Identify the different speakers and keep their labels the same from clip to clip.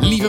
Speaker 1: Lieve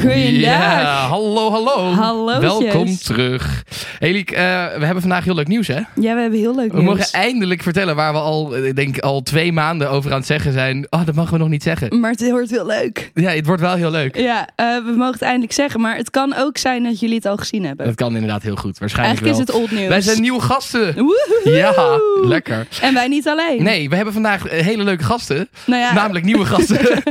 Speaker 2: Goeiedag.
Speaker 3: Ja, hallo, hallo.
Speaker 2: Hallootjes.
Speaker 3: Welkom terug. Hey Liek, eh, we hebben vandaag heel leuk nieuws, hè?
Speaker 2: Ja, we hebben heel leuk
Speaker 3: We mogen eindelijk vertellen waar we al, eh, ik denk al twee maanden over aan het zeggen zijn. Oh, dat mogen we nog niet zeggen.
Speaker 2: Maar het wordt heel leuk.
Speaker 3: Ja, het wordt wel heel leuk.
Speaker 2: Ja, eh, we mogen het eindelijk zeggen, maar het kan ook zijn dat jullie het al gezien hebben.
Speaker 3: Dat kan inderdaad heel goed, waarschijnlijk
Speaker 2: Eigenlijk is
Speaker 3: wel.
Speaker 2: het old news.
Speaker 3: Wij zijn nieuwe gasten.
Speaker 2: Woehoe.
Speaker 3: Ja, lekker.
Speaker 2: En wij niet alleen.
Speaker 3: Nee, we hebben vandaag eh, hele leuke gasten.
Speaker 2: Nou ja,
Speaker 3: Namelijk nieuwe gasten.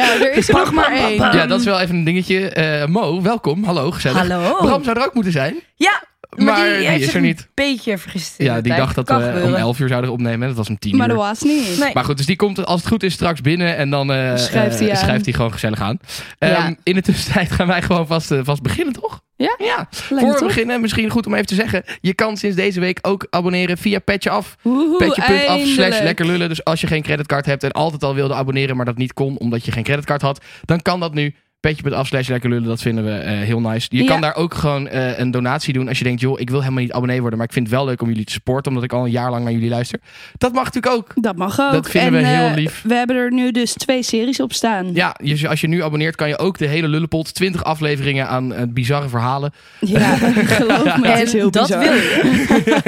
Speaker 2: ja, er is er nog maar één.
Speaker 3: ja, dat is wel even een dingetje. Eh, Mo, welkom. Hallo, gezellig.
Speaker 4: Hallo.
Speaker 3: Bram zou er ook moeten zijn.
Speaker 4: Ja, maar,
Speaker 3: Maar
Speaker 4: die,
Speaker 3: die
Speaker 4: heeft
Speaker 3: is
Speaker 4: zich
Speaker 3: er niet.
Speaker 4: een beetje vergist. in
Speaker 3: Ja,
Speaker 4: de
Speaker 3: die
Speaker 4: tijd.
Speaker 3: dacht dat
Speaker 4: Kan
Speaker 2: eh,
Speaker 3: we om
Speaker 4: gebeuren.
Speaker 3: 11 uur zouden opnemen. Dat was om 10 uur.
Speaker 2: Maar dat was niet.
Speaker 4: Nee.
Speaker 3: Maar goed, dus die komt als het goed is straks binnen en dan eh,
Speaker 2: Schrijft hij
Speaker 3: eh,
Speaker 2: aan.
Speaker 3: schrijft hij gewoon gezellig aan. Ehm,
Speaker 2: Ja.
Speaker 3: In de tussentijd gaan wij gewoon vast, eh, vast beginnen, toch?
Speaker 2: Ja.
Speaker 3: ja.
Speaker 2: Leuk,
Speaker 3: Voor we
Speaker 2: toch?
Speaker 3: beginnen, misschien goed om even te zeggen. Je kan sinds deze week ook abonneren via Petje Af.
Speaker 2: Woehoe,
Speaker 3: Petje.af slash
Speaker 2: eindelijk.
Speaker 3: lekker lullen. Dus als je geen creditcard hebt en altijd al wilde abonneren, maar dat niet kon omdat je geen creditcard had, dan kan dat nu. Petje.af slash lekker lullen, dat vinden we eh, heel nice. Je
Speaker 2: Ja.
Speaker 3: kan daar ook gewoon eh, een donatie doen als je denkt, joh, ik wil helemaal niet abonnee worden, maar ik vind het wel leuk om jullie te supporten, omdat ik al een jaar lang naar jullie luister. Dat mag natuurlijk ook.
Speaker 2: Dat mag ook.
Speaker 3: Dat vinden
Speaker 2: en,
Speaker 3: we heel
Speaker 2: eh,
Speaker 3: lief.
Speaker 2: we hebben er nu dus twee series op staan.
Speaker 3: Ja, je- als je nu abonneert kan je ook de hele Lullepot, 20 afleveringen aan eh, bizarre verhalen.
Speaker 2: Ja, geloof me, het is heel
Speaker 4: en dat
Speaker 2: bizar.
Speaker 4: wil je.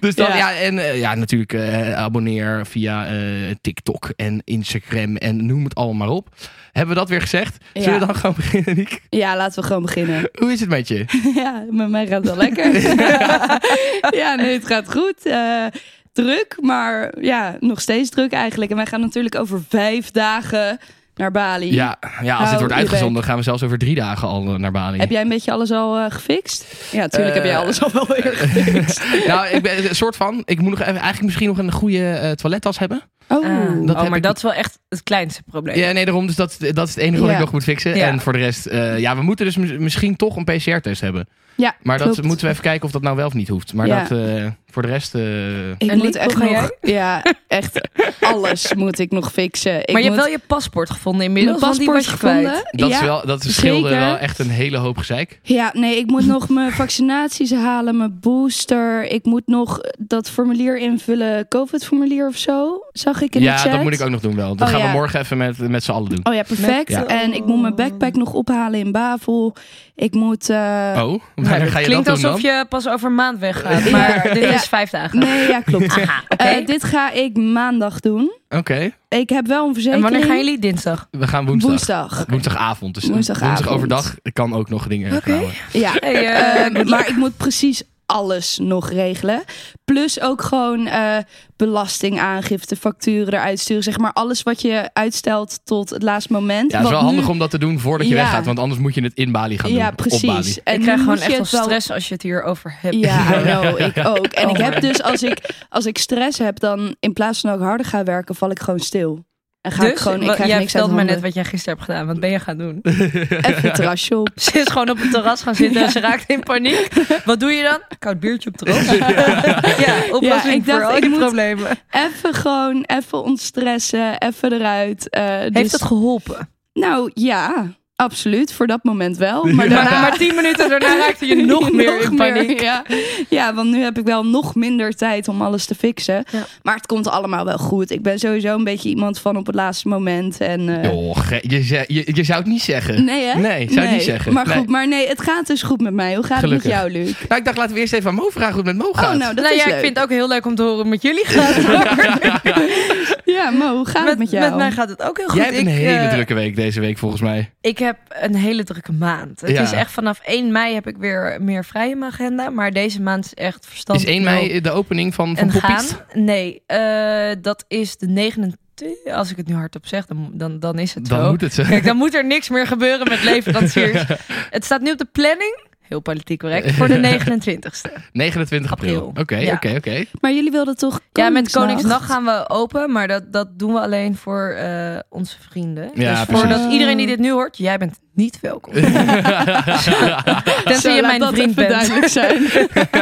Speaker 3: Dus dan,
Speaker 2: Ja.
Speaker 3: ja. en eh, ja, natuurlijk eh, abonneer via eh, TikTok en Instagram en noem het allemaal maar op. Hebben we dat weer gezegd? Zullen
Speaker 2: Ja.
Speaker 3: we dan gewoon beginnen, Niek?
Speaker 2: Ja, laten we gewoon beginnen.
Speaker 3: Hoe is het met je?
Speaker 2: Ja, met mij gaat het wel lekker. ja, nee, het gaat goed. Eh, druk, maar ja, nog steeds druk eigenlijk. En wij gaan natuurlijk over vijf dagen naar Bali.
Speaker 3: Ja, ja als
Speaker 2: Hou
Speaker 3: dit
Speaker 2: je
Speaker 3: wordt uitgezonden
Speaker 2: bek.
Speaker 3: gaan we zelfs over drie dagen al eh, naar Bali.
Speaker 2: Heb jij een beetje alles al eh, gefixt? Ja, natuurlijk heb jij
Speaker 3: Eh,
Speaker 2: alles al wel weer gefixt.
Speaker 3: Nou, ik ben een soort van. Ik moet nog even, eigenlijk misschien nog een goede eh, toilettas hebben.
Speaker 2: Oh,
Speaker 3: dat
Speaker 4: oh,
Speaker 3: heb
Speaker 4: maar
Speaker 3: ik-
Speaker 4: dat is wel echt het kleinste probleem.
Speaker 3: Ja, nee, daarom. Dus dat, dat is het enige wat
Speaker 2: Eh. Ja.
Speaker 3: ik nog moet fixen.
Speaker 4: Ja.
Speaker 3: En voor de rest, eh, ja, we moeten dus mis- misschien toch een PCR-test hebben.
Speaker 2: ja,
Speaker 3: Maar dat
Speaker 2: klopt.
Speaker 3: moeten we even kijken of dat nou wel of niet hoeft. Maar
Speaker 2: Ja.
Speaker 3: dat, eh, voor de rest... eh,
Speaker 2: Ik
Speaker 4: En
Speaker 2: moet
Speaker 4: Liek,
Speaker 2: echt
Speaker 4: hoe ga
Speaker 2: nog, ja, echt alles moet ik nog fixen. Ik
Speaker 4: maar je
Speaker 2: moet
Speaker 4: hebt wel je paspoort gevonden
Speaker 2: mijn
Speaker 4: inmiddels. want die
Speaker 2: paspoort
Speaker 4: was je kwijt.
Speaker 2: gevonden.
Speaker 3: dat,
Speaker 2: ja,
Speaker 3: is wel, dat scheelde
Speaker 2: zeker.
Speaker 3: wel echt een hele hoop gezeik.
Speaker 2: Ja, nee, ik moet nog mijn vaccinaties halen, mijn booster. Ik moet nog dat formulier invullen, COVID-formulier of zo. Zag ik in de
Speaker 3: Ja,
Speaker 2: chat.
Speaker 3: dat moet ik ook nog doen wel. Dat
Speaker 2: Oh,
Speaker 3: gaan
Speaker 2: ja.
Speaker 3: we morgen even met, met z'n allen doen.
Speaker 2: Oh ja, perfect.
Speaker 3: Met-
Speaker 2: En ik moet mijn backpack nog ophalen in Bavel. Ik moet... eh,
Speaker 3: Oh, wanneer ga je dat
Speaker 4: Klinkt
Speaker 3: doen
Speaker 4: alsof
Speaker 3: dan?
Speaker 4: je pas over een maand weggaat. Maar dit
Speaker 2: Ja.
Speaker 4: is vijf dagen.
Speaker 2: Nee, ja, klopt.
Speaker 4: Aha, oké.
Speaker 2: Eh, dit ga ik maandag doen.
Speaker 3: Oké,
Speaker 2: Ik heb wel een
Speaker 4: en
Speaker 2: verzekering.
Speaker 4: wanneer gaan jullie dinsdag?
Speaker 3: we gaan woensdag.
Speaker 2: Woensdag.
Speaker 3: Woensdagavond. Dus
Speaker 2: Woensdagavond.
Speaker 3: woensdag overdag kan ook nog dingen
Speaker 4: Oké.
Speaker 3: gebeuren.
Speaker 2: Ja,
Speaker 4: Hey, eh,
Speaker 2: Eh, maar ik moet precies alles nog regelen. Plus ook gewoon eh, belastingaangifte, facturen eruit sturen. Zeg maar alles wat je uitstelt tot het laatste moment.
Speaker 3: Ja, het is wel
Speaker 2: Want nu-
Speaker 3: handig om dat te doen voordat je
Speaker 2: Ja.
Speaker 3: weggaat. Want anders moet je het in Bali gaan doen.
Speaker 2: Ja,
Speaker 3: Op
Speaker 2: precies.
Speaker 3: Bali.
Speaker 2: En
Speaker 4: ik krijg
Speaker 2: nu
Speaker 4: gewoon
Speaker 2: moet je
Speaker 4: echt wel
Speaker 2: het wel-
Speaker 4: stress als je het hierover hebt.
Speaker 2: Ja, I know, ik ook. En ik
Speaker 4: Oh
Speaker 2: heb
Speaker 4: my.
Speaker 2: dus, als ik, als ik stress heb, dan in plaats van dat ik harder ga werken, val ik gewoon stil. En ga ik
Speaker 4: Dus,
Speaker 2: gewoon, ik
Speaker 4: wa-
Speaker 2: krijg
Speaker 4: jij
Speaker 2: niks uit
Speaker 4: vertelde mij net
Speaker 2: handen.
Speaker 4: wat jij gisteren hebt gedaan. Wat ben je gaan doen?
Speaker 2: Even het terrasje op.
Speaker 4: Ze is gewoon op het terras gaan zitten en ze raakt in paniek. Wat doe je dan? Koud biertje op het terras. Ja, oplossing
Speaker 2: ik dacht,
Speaker 4: voor al
Speaker 2: ik
Speaker 4: je
Speaker 2: moet-
Speaker 4: problemen.
Speaker 2: Even gewoon, even ontstressen, even eruit. Eh, dus-
Speaker 4: Heeft dat geholpen?
Speaker 2: Nou ja, absoluut. Voor dat moment wel. Maar daarna...
Speaker 4: Maar, maar tien minuten daarna raakte je nog meer in
Speaker 2: meer,
Speaker 4: paniek.
Speaker 2: ja. ja, want nu heb ik wel nog minder tijd om alles te fixen.
Speaker 4: Ja.
Speaker 2: Maar het komt allemaal wel goed. Ik ben sowieso een beetje iemand van op het laatste moment. En, eh,
Speaker 3: Joh, ge- je, ze- je, je zou het niet
Speaker 4: Mm.
Speaker 3: zeggen.
Speaker 2: Nee, hè?
Speaker 3: Nee, zou ik niet zeggen.
Speaker 2: Maar
Speaker 3: Nee.
Speaker 2: goed, maar nee, het gaat dus goed met mij. Hoe gaat
Speaker 3: Gelukkig.
Speaker 2: het met jou, Luc?
Speaker 3: Nou, ik dacht, laten we eerst even aan Mo vragen hoe het met Mo gaat.
Speaker 2: Oh, nou, dat
Speaker 4: nou
Speaker 2: is
Speaker 4: ja,
Speaker 2: leuk.
Speaker 4: ik vind het ook heel leuk om te horen hoe het met jullie gaat.
Speaker 2: Ja, Mo, hoe gaat het met jou?
Speaker 4: mij gaat het ook heel goed.
Speaker 3: Jij hebt een
Speaker 4: ik,
Speaker 3: hele
Speaker 4: eh,
Speaker 3: drukke week deze week volgens mij.
Speaker 4: Ik heb een hele drukke maand. Het
Speaker 3: Ja.
Speaker 4: is echt vanaf 1 mei heb ik weer meer vrij in mijn agenda. Maar deze maand is echt
Speaker 3: Is
Speaker 4: verstandig.
Speaker 3: 1 mei de opening van, van
Speaker 4: en gaan?
Speaker 3: Poppies?
Speaker 4: Nee, eh, dat is de 29. Als ik het nu hardop zeg, dan, dan, dan is het
Speaker 3: Dan
Speaker 4: zo.
Speaker 3: moet het zijn.
Speaker 4: Kijk, dan moet er niks meer gebeuren met leveranciers. het staat nu op de planning. Heel politiek correct. Voor de 29ste.
Speaker 5: 29 april.
Speaker 4: April.
Speaker 5: Oké,
Speaker 4: Ja.
Speaker 5: oké, oké.
Speaker 2: Maar jullie wilden toch
Speaker 4: Ja, met Koningsnacht gaan we open, maar dat, dat doen we alleen voor eh, onze vrienden.
Speaker 5: Ja,
Speaker 4: dus
Speaker 5: precies.
Speaker 4: voordat iedereen die dit nu hoort, jij bent niet welkom. Tenzij je mijn vriend
Speaker 2: even
Speaker 4: bent.
Speaker 2: duidelijk zijn.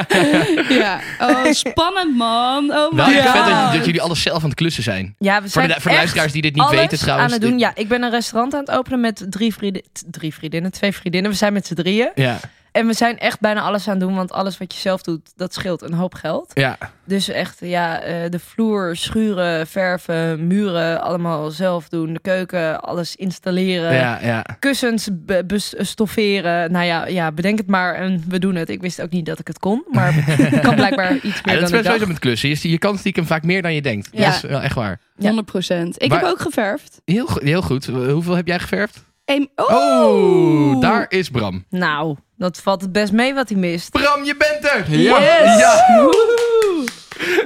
Speaker 2: ja. Oh, spannend man. Oh
Speaker 3: Nou,
Speaker 2: my
Speaker 5: Wel echt
Speaker 2: god.
Speaker 5: vet Nou, dat, dat jullie alles zelf aan het klussen zijn.
Speaker 4: Ja, we
Speaker 5: Voor
Speaker 4: zijn
Speaker 5: de, voor de
Speaker 4: echt
Speaker 5: luisteraars die dit niet
Speaker 4: alles
Speaker 5: weten trouwens.
Speaker 4: aan het doen.
Speaker 5: dit-
Speaker 4: Ja, ik ben een restaurant aan het openen met drie, vrienden, t- drie vriendinnen, twee vriendinnen. We zijn met z'n drieën.
Speaker 5: ja.
Speaker 4: En we zijn echt bijna alles aan het doen, want alles wat je zelf doet, dat scheelt een hoop geld.
Speaker 5: Ja.
Speaker 4: Dus echt, ja, eh, de vloer, schuren, verven, muren, allemaal zelf doen. De keuken, alles installeren.
Speaker 5: ja, ja.
Speaker 4: Kussens be- bes- stofferen. Nou ja, ja, bedenk het maar en we doen het. Ik wist ook niet dat ik het kon, maar ik kan blijkbaar iets
Speaker 5: Ja,
Speaker 4: meer
Speaker 5: dat is
Speaker 4: dan ik
Speaker 5: best sowieso
Speaker 4: dacht.
Speaker 5: met klussen. Je, je kan stiekem vaak meer dan je denkt.
Speaker 2: Ja.
Speaker 5: Dat is wel echt waar.
Speaker 2: 100%. Ik
Speaker 5: Maar-
Speaker 2: heb ook geverfd.
Speaker 5: Heel, go- heel goed. Hoeveel heb jij geverfd?
Speaker 2: Eén-
Speaker 5: Oh, daar is Bram.
Speaker 4: Nou, dat valt het best mee wat hij mist.
Speaker 5: Bram, je bent er!
Speaker 2: Yes!
Speaker 5: Ja.
Speaker 2: Woehoe.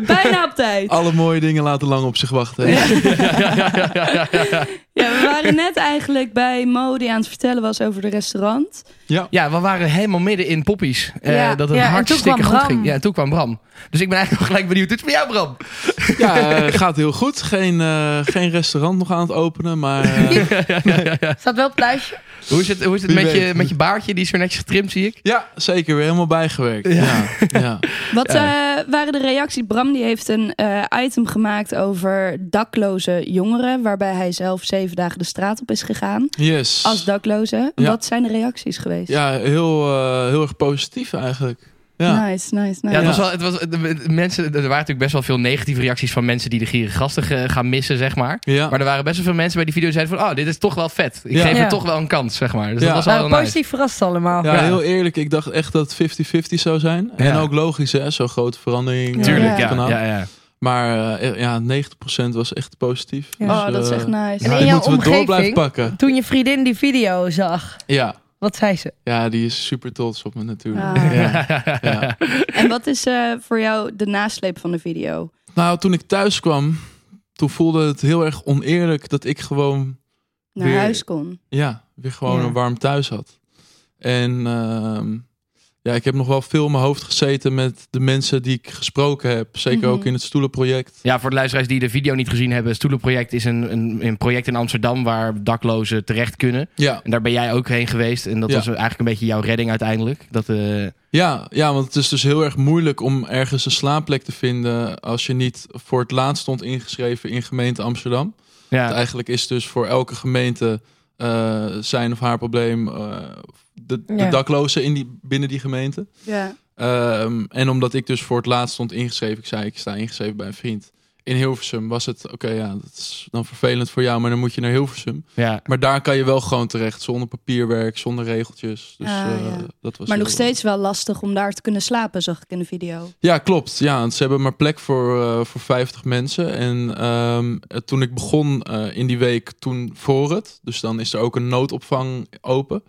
Speaker 2: Bijna op tijd.
Speaker 6: Alle mooie dingen laten lang op zich wachten.
Speaker 2: Ja, we waren net eigenlijk bij Mo die aan het vertellen was over de restaurant.
Speaker 6: Ja.
Speaker 5: Ja, we waren helemaal midden in poppies. Eh,
Speaker 2: Ja.
Speaker 5: Dat het
Speaker 4: Ja, en toen
Speaker 5: hartstikke
Speaker 4: kwam
Speaker 5: goed
Speaker 4: Bram.
Speaker 5: ging. Ja, en toen kwam Bram. Dus ik ben eigenlijk nog gelijk benieuwd. Dit is voor jou, Bram.
Speaker 6: Ja, eh, gaat heel goed. Geen, eh, geen restaurant nog aan het openen, maar eh,
Speaker 4: Staat wel op het lijstje.
Speaker 5: Hoe is het, hoe is het
Speaker 6: Wie
Speaker 5: met, je,
Speaker 6: weet.
Speaker 5: met je baardje? Die is weer netjes getrimd, zie ik.
Speaker 6: ja, zeker weer helemaal bijgewerkt. Ja. Ja.
Speaker 2: Wat eh, waren de reacties? Bram die heeft een eh, item gemaakt over dakloze jongeren, waarbij hij zelf zeven dagen de straat op is gegaan
Speaker 6: Yes.
Speaker 2: als dakloze.
Speaker 6: Ja.
Speaker 2: Wat zijn de reacties geweest?
Speaker 6: Ja, heel, eh, heel erg positief eigenlijk. Ja.
Speaker 2: Nice, nice,
Speaker 5: Ja,
Speaker 2: nice.
Speaker 5: het was wel, het was, de- de- de mensen, er waren natuurlijk best wel veel negatieve reacties van mensen die de gierige gasten eh, gaan missen, zeg maar.
Speaker 6: Ja.
Speaker 5: Maar er waren best wel veel mensen bij die video die zeiden van, oh, dit is toch wel vet. Ik
Speaker 6: Ja.
Speaker 5: geef
Speaker 4: Ja.
Speaker 5: het toch wel een kans, zeg maar. Dus
Speaker 6: Ja.
Speaker 5: dat was
Speaker 4: We waren
Speaker 5: wel heel
Speaker 4: Nou, positief verrast allemaal.
Speaker 6: Ja,
Speaker 5: Ja.
Speaker 6: heel eerlijk, ik dacht echt dat 50-50 zou zijn. En
Speaker 5: Ja.
Speaker 6: ook logisch, hè, zo'n grote verandering. eh,
Speaker 5: nice. Tuurlijk,
Speaker 2: Ja.
Speaker 5: ja.
Speaker 6: kan
Speaker 5: ja,
Speaker 6: ook.
Speaker 5: ja, ja.
Speaker 6: Maar eh, ja, 90% was echt positief.
Speaker 4: Ja.
Speaker 2: Oh, dat is
Speaker 6: eh,
Speaker 2: echt nice.
Speaker 4: En
Speaker 6: dit
Speaker 4: in jouw
Speaker 6: moeten we door blijven
Speaker 4: omgeving,
Speaker 6: pakken.
Speaker 4: toen je vriendin die video zag,
Speaker 6: Ja.
Speaker 4: wat zei ze?
Speaker 6: ja, die is super trots op me natuurlijk.
Speaker 2: Ah.
Speaker 6: Ja. Ja.
Speaker 2: En wat is eh, voor jou de nasleep van de video?
Speaker 6: Nou, toen ik thuis kwam, toen voelde het heel erg oneerlijk dat ik gewoon
Speaker 2: Naar
Speaker 6: Weer-
Speaker 2: huis kon.
Speaker 6: Ja, weer gewoon
Speaker 4: Ja.
Speaker 6: een warm thuis had. En ehm, ja, ik heb nog wel veel in mijn hoofd gezeten met de mensen die ik gesproken heb. Zeker
Speaker 2: Mhm.
Speaker 6: ook in het stoelenproject.
Speaker 5: Ja, voor de luisteraars die de video niet gezien hebben, Stoelenproject is een, een, een project in Amsterdam waar daklozen terecht kunnen.
Speaker 6: Ja,
Speaker 5: En daar ben jij ook heen geweest. En dat
Speaker 6: Ja.
Speaker 5: was eigenlijk een beetje jouw redding uiteindelijk. Dat, eh,
Speaker 6: ja, ja, want het is dus heel erg moeilijk om ergens een slaapplek te vinden als je niet voor het laatst stond ingeschreven in gemeente Amsterdam. Want
Speaker 5: ja.
Speaker 6: Eigenlijk is dus voor elke gemeente eh, zijn of haar probleem eh, de, de
Speaker 4: Ja.
Speaker 6: daklozen in die, binnen die gemeente.
Speaker 2: Ja.
Speaker 6: Ehm, en omdat ik dus voor het laatst stond ingeschreven, ik zei ik sta ingeschreven bij een vriend. In Hilversum was het, oké ja, dat is dan vervelend voor jou, maar dan moet je naar Hilversum.
Speaker 5: Ja.
Speaker 6: Maar daar kan je wel gewoon terecht, zonder papierwerk, zonder regeltjes. Dus
Speaker 2: Ah,
Speaker 6: eh,
Speaker 2: ja.
Speaker 6: dat was
Speaker 2: Maar
Speaker 6: heel-
Speaker 2: nog steeds wel lastig om daar te kunnen slapen, zag ik in de video.
Speaker 6: Ja, klopt. Ja, want ze hebben maar plek voor, eh, voor 50 mensen. En ehm, eh, toen ik begon eh, in die week, toen voor het. Dus dan is er ook een noodopvang open.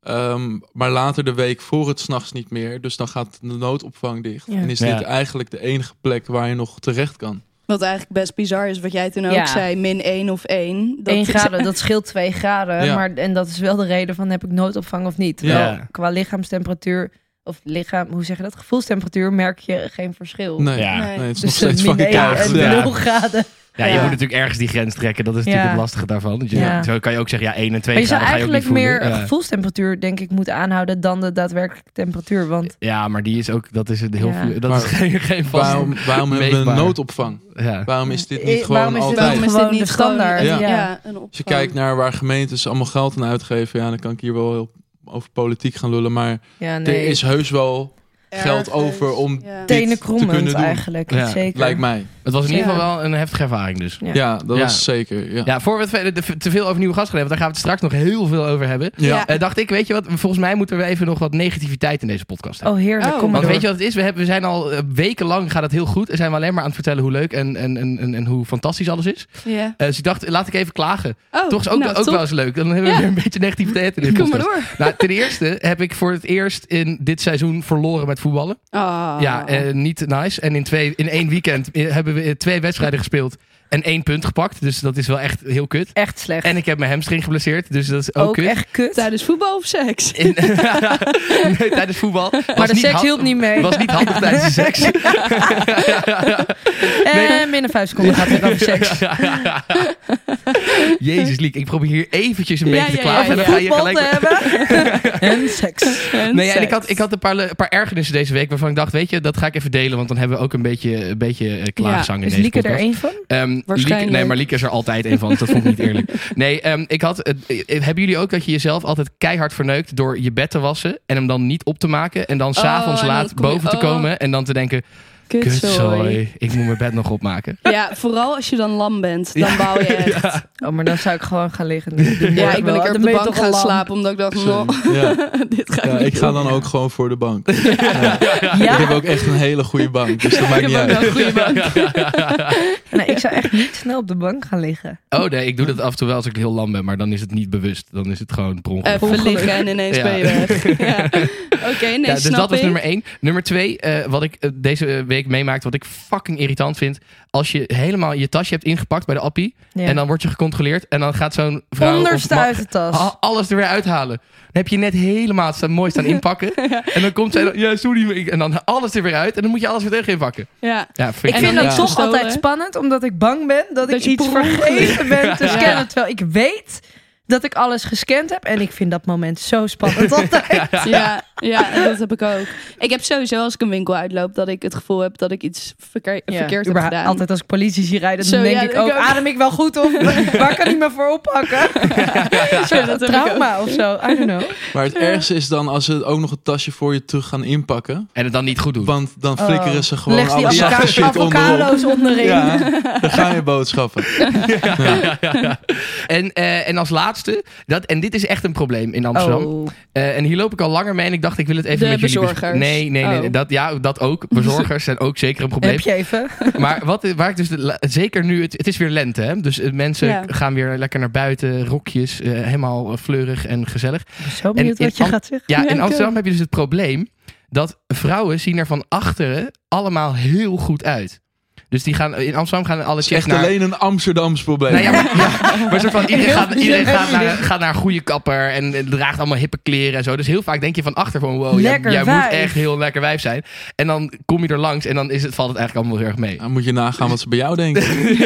Speaker 6: Ehm, maar later de week voor het s'nachts niet meer. Dus dan gaat de noodopvang dicht.
Speaker 4: Ja.
Speaker 6: En is
Speaker 5: Ja.
Speaker 6: dit eigenlijk de enige plek waar je nog terecht kan.
Speaker 2: Wat eigenlijk best bizar is, wat jij toen ook
Speaker 4: Ja.
Speaker 2: zei, min 1 of 1.
Speaker 4: Eén graden, dat scheelt 2 graden.
Speaker 6: Ja.
Speaker 4: Maar, en dat is wel de reden van heb ik noodopvang of niet.
Speaker 6: Ja.
Speaker 4: Terwijl Qua lichaamstemperatuur, of lichaam, hoe zeg je dat? Gevoelstemperatuur merk je geen verschil.
Speaker 6: Nee,
Speaker 5: Ja.
Speaker 6: nee. het is nog
Speaker 4: Dus
Speaker 6: steeds
Speaker 4: min
Speaker 6: fucking
Speaker 4: één
Speaker 6: koud.
Speaker 4: en
Speaker 6: Ja.
Speaker 5: Ja.
Speaker 4: nul graden.
Speaker 5: ja, je
Speaker 2: Ja.
Speaker 5: moet natuurlijk ergens die grens trekken. Dat is natuurlijk
Speaker 4: Ja.
Speaker 5: het lastige daarvan. Want je-
Speaker 4: Ja.
Speaker 5: Zo kan je ook zeggen, ja, 1 en 2
Speaker 4: Maar je zou
Speaker 5: graden ga je ook niet
Speaker 4: eigenlijk meer
Speaker 5: voelen. Ja.
Speaker 4: gevoelstemperatuur, denk ik, moeten aanhouden dan de daadwerkelijke temperatuur. Want
Speaker 5: Ja, maar die is ook, dat is een heel
Speaker 4: Ja.
Speaker 5: vlo- dat
Speaker 6: Maar
Speaker 5: is geen, geen vast.
Speaker 6: Waarom, waarom hebben we
Speaker 5: Meetbaar.
Speaker 6: een noodopvang?
Speaker 5: Ja.
Speaker 6: Waarom is dit
Speaker 4: Eh,
Speaker 6: niet gewoon
Speaker 4: waarom is dit
Speaker 6: altijd...
Speaker 4: Waarom is dit niet standaard?
Speaker 2: Ja.
Speaker 6: Ja.
Speaker 2: Ja, een
Speaker 6: Als je kijkt naar waar gemeentes allemaal geld aan uitgeven... ja, dan kan ik hier wel heel over politiek gaan lullen, maar...
Speaker 4: ja,
Speaker 6: Er
Speaker 4: nee,
Speaker 6: is heus wel geld over om
Speaker 2: Ja.
Speaker 6: dit
Speaker 4: tenen
Speaker 6: te kunnen
Speaker 4: krommend
Speaker 6: doen.
Speaker 4: eigenlijk.
Speaker 5: Ja,
Speaker 4: Zeker.
Speaker 6: Lijkt mij.
Speaker 5: Het was in ieder
Speaker 2: Ja.
Speaker 5: geval wel een heftige ervaring dus.
Speaker 4: Ja.
Speaker 6: Ja, dat
Speaker 5: Ja.
Speaker 6: was zeker. Ja.
Speaker 5: Ja, voor we het verder te- te veel over nieuwe gasten gaan hebben, daar gaan we het straks nog heel veel over hebben.
Speaker 6: Ja.
Speaker 2: Ja.
Speaker 5: Eh, dacht ik, weet je wat, volgens mij moeten we even nog wat negativiteit in deze podcast hebben.
Speaker 4: Oh, heerlijk.
Speaker 2: Oh.
Speaker 4: Kom maar
Speaker 5: Want
Speaker 4: door.
Speaker 5: weet je wat het is? We, hebben, we zijn al eh, wekenlang gaat het heel goed. En zijn we alleen maar aan het vertellen hoe leuk en, en, en, en, en hoe fantastisch alles is.
Speaker 2: Ja.
Speaker 5: Eh, dus ik dacht, laat ik even klagen.
Speaker 2: Oh,
Speaker 5: Toch is ook,
Speaker 2: nou,
Speaker 5: ook
Speaker 2: top.
Speaker 5: wel eens leuk. Dan hebben we
Speaker 2: Ja.
Speaker 5: weer een beetje negativiteit in dit
Speaker 2: Kom maar
Speaker 5: podcast.
Speaker 2: door.
Speaker 5: Nou, ten eerste heb ik voor het eerst in dit seizoen verloren met voetballen.
Speaker 2: Ah.
Speaker 5: Ja, eh, niet nice. En in, twee, in één weekend eh, hebben we eh, twee eh, wedstrijden gespeeld. en één punt gepakt. Dus dat is wel echt heel kut.
Speaker 4: Echt slecht.
Speaker 5: En ik heb mijn hamstring geblesseerd. Dus dat is ook,
Speaker 4: ook
Speaker 5: kut.
Speaker 4: echt kut.
Speaker 2: Tijdens voetbal of seks?
Speaker 5: In- nee, tijdens voetbal.
Speaker 4: maar de seks hielp niet mee.
Speaker 5: Was niet handig tijdens de seks.
Speaker 4: En binnen vijf seconden gaat het over seks.
Speaker 5: Jezus, Liek, ik probeer hier eventjes een
Speaker 2: Ja,
Speaker 5: beetje te
Speaker 2: ja, ja,
Speaker 5: klagen. en
Speaker 2: ja.
Speaker 5: dan
Speaker 2: eh,
Speaker 5: ga je
Speaker 4: Voetbal
Speaker 5: gelijk...
Speaker 4: te hebben. en seks.
Speaker 5: Nee, ja, en ik, had, ik had een paar, le- een paar ergernissen deze week waarvan ik dacht, weet je, dat ga ik even delen. Want dan hebben we ook een beetje, een beetje eh, klaagzang in
Speaker 4: Is
Speaker 5: deze
Speaker 4: Lieke er
Speaker 5: podcast.
Speaker 4: één van?
Speaker 5: Ehm,
Speaker 2: Waarschijnlijk.
Speaker 5: Lieke- nee, maar Lieke is er altijd een van. dus Dat vond ik niet eerlijk. Nee, ehm, ik had, het- eh, hebben jullie ook dat je jezelf altijd keihard verneukt door je bed te wassen en hem dan niet op te maken en dan s'avonds
Speaker 2: en dan
Speaker 5: laat
Speaker 2: kom je-
Speaker 5: boven te
Speaker 2: oh.
Speaker 5: komen en dan te denken,
Speaker 2: Kutzooi.
Speaker 5: kutzooi, ik moet mijn bed nog opmaken.
Speaker 2: Ja, vooral als je dan lam bent. Dan bouw je echt. Ja,
Speaker 4: Oh, maar dan zou ik gewoon gaan liggen. Ja,
Speaker 2: ik ben een keer op de bank gaan slapen. Omdat ik dacht, no,
Speaker 6: Zo, Dus, eh, ja.
Speaker 2: dit gaat
Speaker 6: Ja,
Speaker 2: niet
Speaker 6: ik ga
Speaker 2: doen.
Speaker 6: dan ook gewoon voor de bank. Ik heb
Speaker 4: Ja,
Speaker 6: ook echt een hele goede bank, dus dat maakt
Speaker 2: Ik
Speaker 6: niet
Speaker 2: heb ook wel
Speaker 6: uit.
Speaker 2: een goede bank.
Speaker 4: nee, Nou, ik zou echt niet snel op de bank gaan liggen.
Speaker 5: Oh nee, ik doe dat af en toe wel als ik heel lam ben, maar dan is het niet bewust. Dan is het gewoon per
Speaker 4: Eh,
Speaker 5: ongeluk.
Speaker 2: Even liggen en ineens
Speaker 5: Ja.
Speaker 2: ben je weg. Ja. Oké, nee,
Speaker 5: ja, dus
Speaker 2: snap
Speaker 5: dat was
Speaker 2: ik.
Speaker 5: nummer één. Nummer twee, eh, wat ik eh, deze week meemaakte, wat ik fucking irritant vind. Als je helemaal je tasje hebt ingepakt bij de appie.
Speaker 4: Ja.
Speaker 5: En dan word je gecontroleerd. En dan gaat zo'n vrouw of
Speaker 4: Onderste
Speaker 5: man Ah,
Speaker 4: uit de tas.
Speaker 5: a- alles er weer uithalen. Dan heb je net helemaal staan, mooi staan inpakken. En dan komt zij dan, ja sorry. maar ik- En dan alles er weer uit. En dan moet je alles weer terug inpakken.
Speaker 2: Ja.
Speaker 5: Ja,
Speaker 4: Ik
Speaker 2: En
Speaker 4: vind
Speaker 2: dan
Speaker 4: dat
Speaker 2: ja.
Speaker 4: toch
Speaker 2: gestolen.
Speaker 4: altijd spannend, omdat ik bang ben dat,
Speaker 2: Dat
Speaker 4: ik
Speaker 2: je
Speaker 4: iets
Speaker 2: per ongeluk-
Speaker 4: vergeten ben te
Speaker 2: Ja.
Speaker 4: scannen. Terwijl ik weet dat ik alles gescand heb. En ik vind dat moment zo spannend altijd.
Speaker 2: Ja, ja, dat heb ik ook. Ik heb sowieso als ik een winkel uitloop dat ik het gevoel heb dat ik iets verkeer- verkeerd heb
Speaker 4: Überhaupt,
Speaker 2: gedaan.
Speaker 4: Altijd als ik politie zie rijden, dan
Speaker 2: Zo,
Speaker 4: denk
Speaker 2: ja,
Speaker 4: ik
Speaker 2: ik
Speaker 4: ook,
Speaker 2: ook.
Speaker 4: adem ik wel goed of waar kan ik me voor oppakken?
Speaker 2: Zo, dat heb ik ook.
Speaker 4: Trauma of zo, I don't know.
Speaker 6: Maar het ergste is dan als ze ook nog het tasje voor je terug gaan inpakken.
Speaker 5: En het dan niet goed doen.
Speaker 6: Want dan flikkeren ze
Speaker 4: Oh,
Speaker 6: gewoon
Speaker 4: Leg die
Speaker 6: al die
Speaker 4: avoca-
Speaker 6: shit onderop.
Speaker 4: avocado's onderin. Oh.
Speaker 6: Ja, dan gaan je boodschappen.
Speaker 5: En, eh, en als laatste, dat, en dit is echt een probleem in Amsterdam.
Speaker 4: Oh.
Speaker 5: Eh, en hier loop ik al langer mee en ik dacht, ik wil het even
Speaker 2: De
Speaker 5: met jullie... bes-
Speaker 2: bezorgers.
Speaker 5: Nee, nee, nee.
Speaker 2: Oh.
Speaker 5: Dat, ja, dat ook. Bezorgers zijn ook zeker een probleem.
Speaker 4: Heb je even?
Speaker 5: Maar wat, waar ik dus, de la- zeker nu, het, het is weer lente, hè? dus eh, mensen
Speaker 2: Ja.
Speaker 5: gaan weer lekker naar buiten, rokjes, eh, helemaal eh, fleurig en gezellig.
Speaker 4: Zo benieuwd
Speaker 5: in
Speaker 4: wat je
Speaker 5: Am-
Speaker 4: gaat zeggen.
Speaker 5: Ja,
Speaker 2: Ja,
Speaker 5: in
Speaker 2: ik eh,
Speaker 5: Amsterdam heb je dus het probleem dat vrouwen zien er van achteren allemaal heel goed uit. Dus die gaan, in Amsterdam gaan alle
Speaker 6: Het is
Speaker 5: chicks
Speaker 6: echt
Speaker 5: naar...
Speaker 6: alleen een Amsterdams probleem.
Speaker 5: Nou ja, maar, ja, maar soort van, iedereen, gaat, iedereen
Speaker 4: Heel
Speaker 5: gaat, naar,
Speaker 4: erg.
Speaker 5: gaat naar een goede kapper en eh, draagt allemaal hippe kleren en zo. Dus heel vaak denk je van achter van wow, jij,
Speaker 4: Lekker
Speaker 5: jij moet
Speaker 4: wijf.
Speaker 5: echt heel lekker wijf zijn. En dan kom je er langs en dan is het, valt het eigenlijk allemaal heel erg mee.
Speaker 6: Dan moet je nagaan wat ze bij jou denken.
Speaker 4: Ah.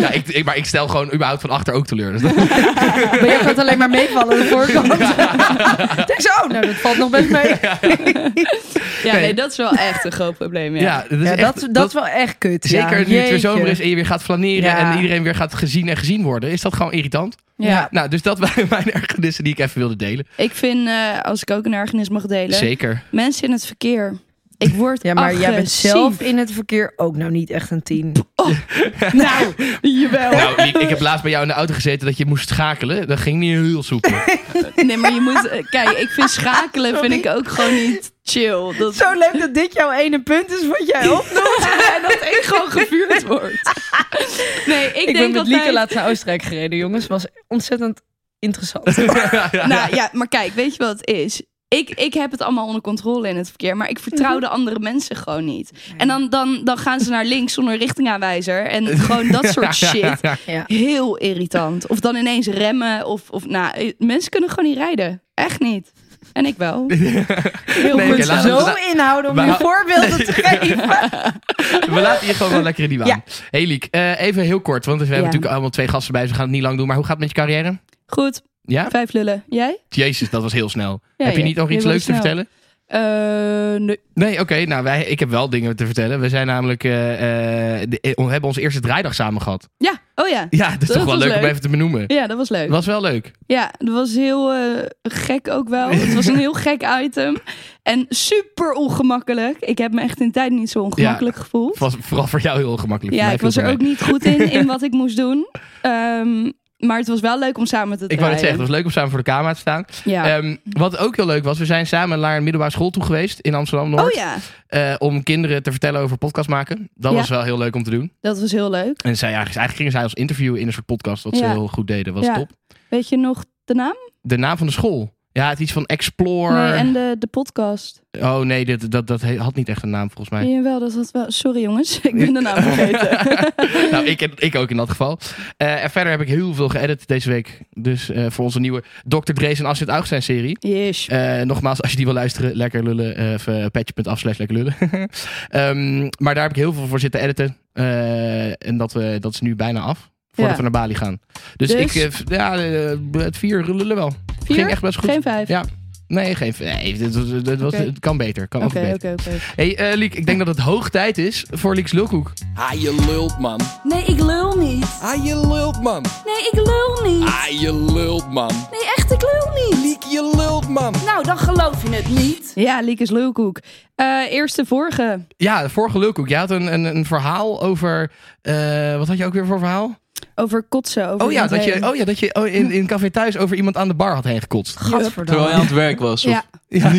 Speaker 5: Ja, ik, ik- maar ik stel gewoon überhaupt van achter ook teleur. Dus dat-
Speaker 4: Maar jij gaat alleen maar meevallen aan de voorkant. Denk zo, oh, nou dat valt nog best mee. Ja,
Speaker 2: Ja,
Speaker 5: Nee.
Speaker 2: nee, dat is wel echt een groot probleem. Ja.
Speaker 5: ja, dat is echt-
Speaker 4: dat, dat,
Speaker 5: dat-
Speaker 4: is wel echt kut.
Speaker 5: Zeker
Speaker 4: ja.
Speaker 5: nu het weer
Speaker 4: Jeetje.
Speaker 5: zomer is en je weer gaat flaneren
Speaker 4: Ja.
Speaker 5: en iedereen weer gaat gezien en gezien worden. Is dat gewoon irritant?
Speaker 4: Ja.
Speaker 5: Nou, dus dat waren mijn ergernissen die ik even wilde delen.
Speaker 2: Ik vind, eh, als ik ook een ergernis mag delen,
Speaker 5: Zeker.
Speaker 2: mensen in het verkeer. Ik word
Speaker 4: Ja, maar jij bent
Speaker 2: agressief. Oh.
Speaker 4: zelf in het verkeer ook nou niet echt een tien. nou,
Speaker 2: Jawel.
Speaker 5: Nou, Niek, ik heb laatst bij jou in de auto gezeten dat je moest schakelen. Dat ging niet heel soepel.
Speaker 2: Nee, maar je moet... eh, Kijk, ik vind schakelen vind ik ook gewoon niet chill. Dat,
Speaker 4: zo leuk dat dit jouw ene punt is wat jij opnoemt.
Speaker 2: en dat ik gewoon gevuurd word. Nee, ik,
Speaker 4: Ik, ben
Speaker 2: denk
Speaker 4: met
Speaker 2: dat
Speaker 4: Lieke laatst naar Oostenrijk gereden, jongens. Was ontzettend interessant.
Speaker 2: Nou ja, maar kijk, weet je wat het is? Ik, ik heb het allemaal onder controle in het verkeer, maar ik
Speaker 5: Mhm.
Speaker 2: vertrouw de andere mensen gewoon niet. En dan, dan, dan gaan ze naar links zonder richtingaanwijzer en gewoon dat soort shit.
Speaker 4: Ja.
Speaker 2: Heel irritant. Of dan ineens remmen. Of, of nou, eh, mensen kunnen gewoon niet rijden. Echt niet. En ik wel. Heel
Speaker 5: Nee,
Speaker 2: goed
Speaker 5: oké, laten
Speaker 2: zo.
Speaker 5: we-
Speaker 4: Zo inhouden om
Speaker 5: Maar-
Speaker 4: je voorbeelden te geven.
Speaker 5: We laten je gewoon wel lekker in die waan.
Speaker 4: Ja.
Speaker 5: Hey Liek, eh, even heel kort, want we hebben
Speaker 2: Ja.
Speaker 5: natuurlijk allemaal twee gasten bij. Dus we gaan het niet lang doen. Maar hoe gaat het met je carrière?
Speaker 2: Goed,
Speaker 5: Ja?
Speaker 2: vijf lullen. Jij?
Speaker 5: Jezus, dat was heel snel.
Speaker 2: Ja,
Speaker 5: heb je
Speaker 2: ja.
Speaker 5: niet nog
Speaker 2: Je
Speaker 5: iets
Speaker 2: wilde
Speaker 5: leuks te
Speaker 2: snel.
Speaker 5: vertellen?
Speaker 2: Eh, nee.
Speaker 5: Nee, oké. nou, wij, ik heb wel dingen te vertellen. We zijn namelijk, eh, eh, de- eh, we hebben onze eerste draaidag samen gehad.
Speaker 2: Ja, oh ja.
Speaker 5: Ja, dat is
Speaker 2: Dat
Speaker 5: toch wel
Speaker 2: was
Speaker 5: leuk, om
Speaker 2: leuk.
Speaker 5: even te benoemen.
Speaker 2: Ja, dat was leuk.
Speaker 5: Was wel leuk.
Speaker 2: Ja, dat was heel eh, gek ook wel. Het was een heel gek item. En super ongemakkelijk. Ik heb me echt in tijd niet zo ongemakkelijk gevoeld.
Speaker 5: Was vooral voor jou heel ongemakkelijk. Voor
Speaker 2: Ja,
Speaker 5: mij
Speaker 2: ik was
Speaker 5: viel
Speaker 2: er
Speaker 5: het
Speaker 2: ook
Speaker 5: mee.
Speaker 2: niet goed in, in wat ik moest doen. Ehm, maar het was wel leuk om samen te draaien.
Speaker 5: Ik wou net zeggen, het was leuk om samen voor de camera te staan.
Speaker 2: Ja.
Speaker 5: Ehm, wat ook heel leuk was, we zijn samen naar een middelbare school toe geweest in Amsterdam-Noord.
Speaker 2: oh ja,
Speaker 5: eh, om kinderen te vertellen over podcast maken. Dat
Speaker 2: Ja.
Speaker 5: was wel heel leuk om te doen.
Speaker 2: dat was heel leuk.
Speaker 5: En zij, eigenlijk, eigenlijk gingen zij ons interviewen in een soort podcast, wat ze
Speaker 2: Ja.
Speaker 5: heel goed deden. was
Speaker 2: Ja.
Speaker 5: top.
Speaker 2: Weet je nog de naam?
Speaker 5: De naam van de school. Ja, het is iets van Explore.
Speaker 2: Nee, en de, de podcast.
Speaker 5: Oh nee, dit, dat, dat he- had niet echt een naam volgens mij.
Speaker 2: Jawel, dat had wel... Sorry jongens, ik ben de naam vergeten.
Speaker 5: nou, ik, ik ook in dat geval. Eh, en verder heb ik heel veel geëdit deze week. Dus eh, voor onze nieuwe Dr. Drees en Astrid Augstein serie.
Speaker 2: Yes.
Speaker 5: Eh, nogmaals, als je die wil luisteren, lekker lullen. eh, of eh, patch.af slash lekker lullen. Ehm, maar daar heb ik heel veel voor zitten editen. Eh, en dat, we, dat is nu bijna af. Voordat
Speaker 2: Ja.
Speaker 5: we naar Bali gaan. Dus,
Speaker 2: Dus?
Speaker 5: ik, eh, v- ja, eh, het vier lullen wel. Ging
Speaker 2: Vier?
Speaker 5: echt best goed.
Speaker 2: Geen vijf?
Speaker 5: Ja. Nee, geen, nee dit, was- dit was,
Speaker 2: Oké.
Speaker 5: het kan beter. Kan ook
Speaker 2: Oké,
Speaker 5: beter.
Speaker 2: oké, oké.
Speaker 5: Hey, eh, Liek, ik denk dat het hoog tijd is voor Liek's Lulkoek.
Speaker 3: Ah, je lult, man.
Speaker 7: Nee, ik lul niet.
Speaker 3: Ah, je lult, man.
Speaker 7: Nee, ik lul niet.
Speaker 3: Ah, je lult, man.
Speaker 7: Nee, echt, ik lul niet.
Speaker 3: Liek, je lult, man.
Speaker 7: Nou, dan geloof je het niet.
Speaker 2: Ja, Liek is lulkoek. Eh eerst de vorige.
Speaker 5: Ja, de vorige Lulkoek. Jij had een, een, een verhaal over... eh, wat had je ook weer voor verhaal?
Speaker 2: Over kotsen. Over
Speaker 5: Oh ja,
Speaker 2: iemand
Speaker 5: dat
Speaker 2: heen.
Speaker 5: je, oh ja, dat je oh, in, in Café Thuis over iemand aan de bar had heen gekotst.
Speaker 4: Gadverdamme.
Speaker 6: Terwijl je aan het werk was. of-
Speaker 2: Ja.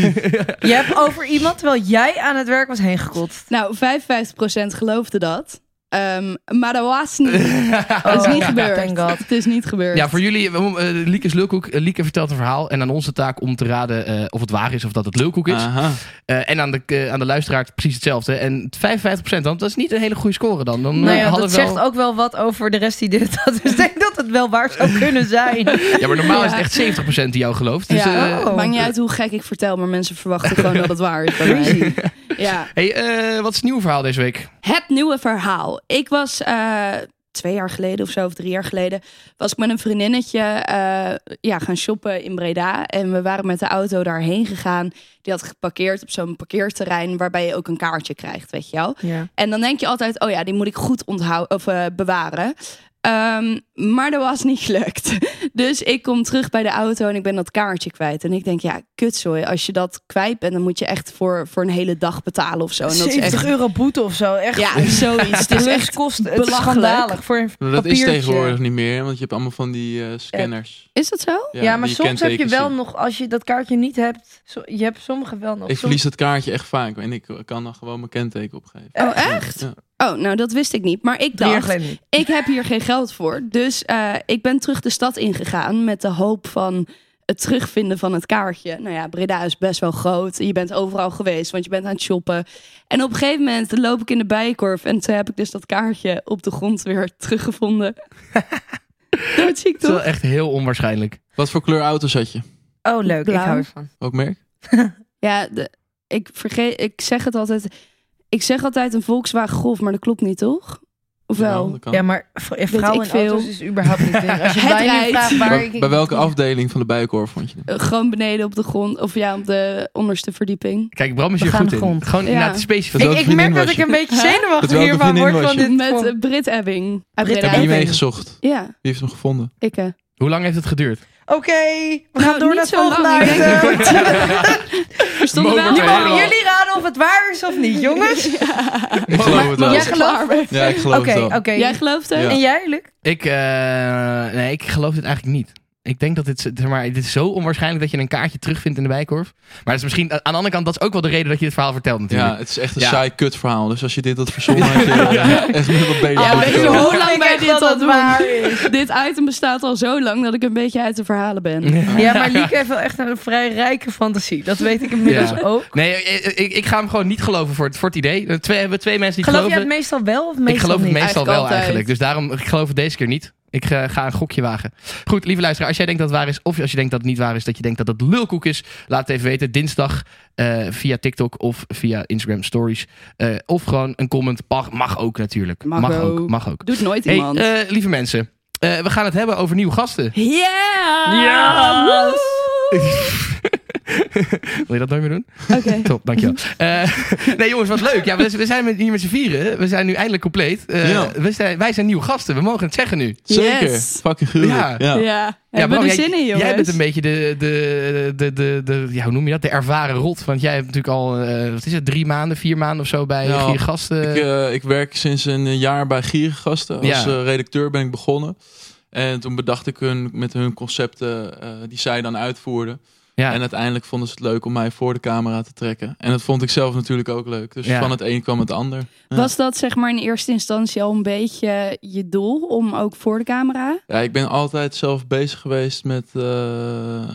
Speaker 4: Je hebt over iemand terwijl jij aan het werk was heen gekotst.
Speaker 2: Nou, 55% geloofde dat. Ehm, maar dat was niet. Het is niet gebeurd.
Speaker 4: Thank God.
Speaker 2: Het is niet gebeurd.
Speaker 5: Ja, voor jullie, eh, eh, Liek is Lulkoek. Eh, Lieke vertelt een verhaal en aan onze taak om te raden eh, of het waar is of dat het Lulkoek is.
Speaker 6: Aha.
Speaker 5: Eh, en aan de, eh, aan de luisteraar precies hetzelfde. En 55% dan, dat is niet een hele goede score dan. dan eh,
Speaker 4: Nou ja,
Speaker 5: hadden
Speaker 4: dat
Speaker 5: we wel-
Speaker 4: zegt ook wel wat over de rest die dit had. Dus ik denk dat het wel waar zou kunnen zijn.
Speaker 5: Ja, maar normaal
Speaker 2: Ja.
Speaker 5: is het echt 70% die jou gelooft. Dus,
Speaker 2: ja,
Speaker 5: eh,
Speaker 4: Oh.
Speaker 2: Maakt niet uit hoe gek ik vertel, maar mensen verwachten gewoon dat het waar is bij mij. Ja.
Speaker 5: hey, eh, wat is het nieuwe verhaal deze week?
Speaker 2: Het nieuwe verhaal. Ik was eh, twee jaar geleden of zo, of drie jaar geleden, was ik met een vriendinnetje eh, ja, gaan shoppen in Breda. En we waren met de auto daarheen gegaan. Die had geparkeerd op zo'n parkeerterrein waarbij je ook een kaartje krijgt, weet je wel.
Speaker 4: Oh,
Speaker 2: En dan denk je altijd, oh ja, die moet ik goed onthouden of eh, bewaren. Ehm, maar dat was niet gelukt. Dus ik kom terug bij de auto en ik ben dat kaartje kwijt. En ik denk, ja, kutzooi. Als je dat kwijt bent, dan moet je echt voor, voor een hele dag betalen of zo. Oh, En dat is
Speaker 4: 70
Speaker 2: echt
Speaker 4: euro boete of zo. Echt
Speaker 2: ja, zoiets. Het is echt
Speaker 4: kost het is
Speaker 2: belachelijk.
Speaker 4: schandalig voor een
Speaker 6: Nou, dat
Speaker 4: papiertje.
Speaker 6: is tegenwoordig niet meer, want je hebt allemaal van die eh, scanners.
Speaker 2: Is dat zo? Oh,
Speaker 4: Ja, maar
Speaker 6: die
Speaker 4: soms heb je
Speaker 6: kentekens
Speaker 4: wel
Speaker 6: zien.
Speaker 4: nog, als je dat kaartje niet hebt, zo- je hebt sommige wel nog.
Speaker 6: Ik
Speaker 4: Soms-
Speaker 6: verlies dat kaartje echt vaak en ik kan dan gewoon mijn kenteken opgeven.
Speaker 2: Oh, echt?
Speaker 6: Ja.
Speaker 2: Oh, nou, dat wist ik niet. Maar ik
Speaker 4: Drie jaar
Speaker 2: dacht,
Speaker 4: geleden niet.
Speaker 2: ik heb hier geen geld voor. Dus eh, ik ben terug de stad ingegaan met de hoop van het terugvinden van het kaartje. Nou ja, Breda is best wel groot. Je bent overal geweest, want je bent aan het shoppen. En op een gegeven moment loop ik in de bijenkorf... en toen heb ik dus dat kaartje op de grond weer teruggevonden. Doodziek
Speaker 5: Het is wel
Speaker 2: toch?
Speaker 5: echt heel onwaarschijnlijk.
Speaker 6: Wat voor kleur auto's had je?
Speaker 4: Oh, leuk.
Speaker 2: Blauw.
Speaker 4: Ik hou ervan.
Speaker 6: Ook merk?
Speaker 2: Ja, de- ik, vergeet, ik zeg het altijd... Ik zeg altijd een Volkswagen Golf, maar dat klopt niet, toch? Of wel?
Speaker 6: dat kan.
Speaker 4: Ja, maar v- eh, vrouwen
Speaker 2: ik
Speaker 4: in
Speaker 2: veel.
Speaker 4: auto's is überhaupt niet ding. Als je
Speaker 2: Het
Speaker 4: mij nu
Speaker 2: rijdt.
Speaker 4: vraagt waar
Speaker 6: Bij,
Speaker 4: ik...
Speaker 6: bij welke afdeling van de bijenkorf vond je dit?
Speaker 2: Eh, gewoon beneden op de grond. Of ja, op de onderste verdieping.
Speaker 5: Kijk, Bram is
Speaker 4: We
Speaker 5: hier
Speaker 4: gaan
Speaker 5: goed
Speaker 4: de
Speaker 5: in.
Speaker 4: grond.
Speaker 5: Gewoon
Speaker 2: Ja.
Speaker 5: inderdaad specifiek.
Speaker 6: Dat-
Speaker 4: Ik,
Speaker 6: welke
Speaker 4: ik
Speaker 6: vriendin
Speaker 4: merk dat
Speaker 6: was
Speaker 4: ik
Speaker 6: je?
Speaker 4: een beetje
Speaker 6: Met
Speaker 4: zenuwachtig
Speaker 6: welke
Speaker 4: hiervan
Speaker 6: vriendin
Speaker 4: word
Speaker 6: was
Speaker 4: van
Speaker 6: je?
Speaker 4: dit.
Speaker 2: Met
Speaker 4: voor-
Speaker 2: eh, Brit Ebbing. uit
Speaker 4: Brit
Speaker 6: Heb
Speaker 2: Breda.
Speaker 6: je
Speaker 4: Ebbing.
Speaker 6: mee gezocht?
Speaker 2: Ja, eh.
Speaker 6: Wie heeft hem gevonden?
Speaker 2: ikke.
Speaker 5: Hoe lang heeft het geduurd?
Speaker 2: eh,
Speaker 4: Oké,
Speaker 2: nou,
Speaker 4: we gaan door naar het volgende item.
Speaker 2: Er stonden
Speaker 5: Mo
Speaker 2: wel
Speaker 5: wordt er
Speaker 2: allemaal-
Speaker 4: Mogen jullie raden of het waar is of niet, jongens?
Speaker 6: Ik geloof het wel.
Speaker 4: Jij gelooft?
Speaker 2: Klaar.
Speaker 6: Ja, ik geloof
Speaker 4: Oké,
Speaker 6: het wel.
Speaker 4: oké.
Speaker 2: Jij gelooft het?
Speaker 6: Ja.
Speaker 4: En jij, Luc?
Speaker 5: Ik, eh, nee, ik geloof dit eigenlijk niet. Ik denk dat dit, zeg maar, dit is zo onwaarschijnlijk dat je een kaartje terugvindt in de bijkorf. Maar dat is misschien, aan de andere kant, dat is ook wel de reden dat je dit verhaal vertelt natuurlijk.
Speaker 6: Ja, het is echt een
Speaker 5: Ja.
Speaker 6: saai kut verhaal. Dus als je dit had verzonnen, had je eh, echt niet wat beter
Speaker 4: Ah,
Speaker 2: Ja,
Speaker 6: moeten
Speaker 2: weet je
Speaker 6: komen.
Speaker 2: hoe lang wij dit al doen?
Speaker 4: is?
Speaker 2: Dit item bestaat al zo lang dat ik een beetje uit de verhalen ben.
Speaker 4: Ja, maar Lieke heeft wel echt een vrij rijke fantasie. Dat weet ik inmiddels
Speaker 5: Ja.
Speaker 4: ook.
Speaker 5: Nee, ik, ik, ik ga hem gewoon niet geloven voor het, voor het idee. Er twee, hebben twee mensen die
Speaker 4: Geloof je
Speaker 5: geloven.
Speaker 4: het meestal wel of meestal
Speaker 5: ik geloof
Speaker 4: niet?
Speaker 5: het meestal
Speaker 2: Eigenlijk
Speaker 5: wel
Speaker 2: altijd.
Speaker 5: eigenlijk. Dus daarom, ik geloof het deze keer niet. Ik eh, ga een gokje wagen. Goed, lieve luisteraar, als jij denkt dat het waar is... of als je denkt dat het niet waar is, dat je denkt dat het lulkoek is... laat het even weten, dinsdag eh, via TikTok of via Instagram Stories. Eh, of gewoon een comment, mag, mag ook natuurlijk.
Speaker 2: Mag
Speaker 5: ook.
Speaker 2: ook.
Speaker 5: Mag ook.
Speaker 2: Doet nooit
Speaker 5: Hey,
Speaker 2: iemand.
Speaker 5: eh, lieve mensen, eh, we gaan het hebben over nieuwe gasten.
Speaker 2: Yeah!
Speaker 5: Ja!
Speaker 2: Woe!
Speaker 5: Wil je dat nooit meer doen?
Speaker 2: Oké.
Speaker 5: Top, dankjewel. Eh nee jongens, wat leuk. Ja, we, we zijn met, hier met z'n vieren. We zijn nu eindelijk compleet. Eh,
Speaker 6: Ja.
Speaker 5: we zijn, wij zijn nieuwe gasten, we mogen het zeggen nu.
Speaker 6: Zeker.
Speaker 2: Yes.
Speaker 6: Fucking gruwelijk.
Speaker 5: Ja.
Speaker 6: Ja.
Speaker 2: Ja, hebben
Speaker 5: Bram,
Speaker 2: we er
Speaker 5: jij-
Speaker 2: zin in, jongens?
Speaker 5: Jij bent een beetje de, de, de, de, de, ja, hoe noem je dat? De ervaren rot. Want jij hebt natuurlijk al, eh, wat is het, drie maanden, vier maanden of zo bij
Speaker 6: Ja,
Speaker 5: vier gasten.
Speaker 6: Nou, Ik, eh, ik werk sinds een jaar bij Gierengasten. Als
Speaker 5: Ja.
Speaker 6: eh, redacteur ben ik begonnen. En toen bedacht ik hun, met hun concepten eh, die zij dan uitvoerden.
Speaker 5: Ja.
Speaker 6: En uiteindelijk vonden ze het leuk om mij voor de camera te trekken. En dat vond ik zelf natuurlijk ook leuk. Dus
Speaker 5: Ja.
Speaker 6: van het een kwam het ander. Ja.
Speaker 2: Was dat zeg maar in eerste instantie al een beetje je doel om ook voor de camera?
Speaker 6: Ja, ik ben altijd zelf bezig geweest met, eh,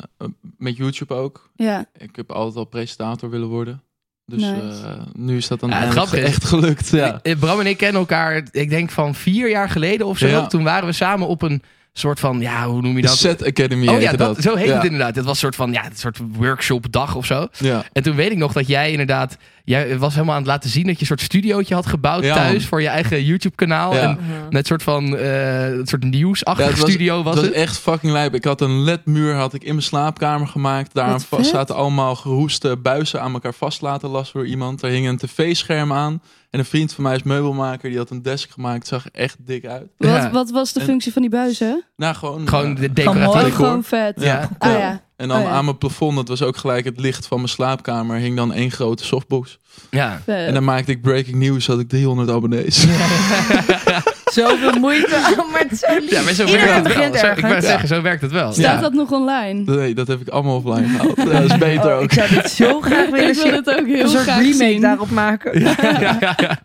Speaker 6: met YouTube ook.
Speaker 2: Ja.
Speaker 6: Ik heb altijd al presentator willen worden. Dus
Speaker 2: Nice.
Speaker 6: eh, nu is dat dan
Speaker 5: Ja, het
Speaker 6: eindelijk
Speaker 5: grappige is-
Speaker 6: echt gelukt. Ja.
Speaker 5: Eh, Bram en ik kennen elkaar, ik denk van vier jaar geleden of zo.
Speaker 6: Ja.
Speaker 5: Toen waren we samen op een soort van, ja, hoe noem je
Speaker 6: De
Speaker 5: dat?
Speaker 6: Set Academy
Speaker 5: oh ja,
Speaker 6: heette
Speaker 5: dat, zo heet
Speaker 6: ja.
Speaker 5: het inderdaad. Het was een soort van, ja, een soort workshopdag of zo.
Speaker 6: Ja.
Speaker 5: En toen weet ik nog dat jij inderdaad, jij was helemaal aan het laten zien dat je een soort studiootje had gebouwd
Speaker 6: Ja,
Speaker 5: thuis
Speaker 6: man.
Speaker 5: voor je eigen YouTube kanaal.
Speaker 6: Ja.
Speaker 5: En net een soort van, eh een soort nieuwsachtig
Speaker 6: Ja, het was-
Speaker 5: studio was
Speaker 6: dat
Speaker 5: het.
Speaker 6: was echt fucking lijp. Ik had een ledmuur had ik in mijn slaapkamer gemaakt. Daaraan
Speaker 2: Wat
Speaker 6: va-
Speaker 2: vet.
Speaker 6: zaten allemaal geroeste buizen aan elkaar vast laten lassen door iemand. Er hing een tv-scherm aan. En een vriend van mij is meubelmaker. Die had een desk gemaakt. Zag er echt dik uit.
Speaker 2: Wat,
Speaker 5: Ja.
Speaker 2: wat was de functie van die buizen?
Speaker 6: Nou, gewoon...
Speaker 5: Gewoon
Speaker 6: eh,
Speaker 5: de
Speaker 4: mooi.
Speaker 2: Oh,
Speaker 5: decoratief.
Speaker 6: decor.
Speaker 2: gewoon vet.
Speaker 6: Ja.
Speaker 5: Ja.
Speaker 2: Ah, ja.
Speaker 6: En dan
Speaker 2: Oh ja.
Speaker 6: aan mijn plafond, dat was ook gelijk het licht van mijn slaapkamer, hing dan één grote softbox.
Speaker 5: Ja.
Speaker 2: Vet.
Speaker 6: En dan maakte ik breaking news, had ik 300 abonnees.
Speaker 4: Zoveel moeite. Oh, maar het is zo lief.
Speaker 5: Ja, maar zo
Speaker 4: Iedereen
Speaker 5: werkt het wel.
Speaker 4: begint
Speaker 5: Zo, ik wou
Speaker 4: ergens.
Speaker 5: zeggen, zo werkt het wel.
Speaker 2: Staat
Speaker 6: Ja.
Speaker 2: dat nog online?
Speaker 6: nee, dat heb ik allemaal offline gehaald. Ja, dat is beter
Speaker 4: Oh,
Speaker 6: ook.
Speaker 4: ik zou dit zo graag willen
Speaker 2: Ik wil
Speaker 4: zien.
Speaker 2: het ook heel
Speaker 4: Een soort
Speaker 2: graag
Speaker 4: remake
Speaker 2: zien.
Speaker 4: daarop maken.
Speaker 5: ja, ja, ja.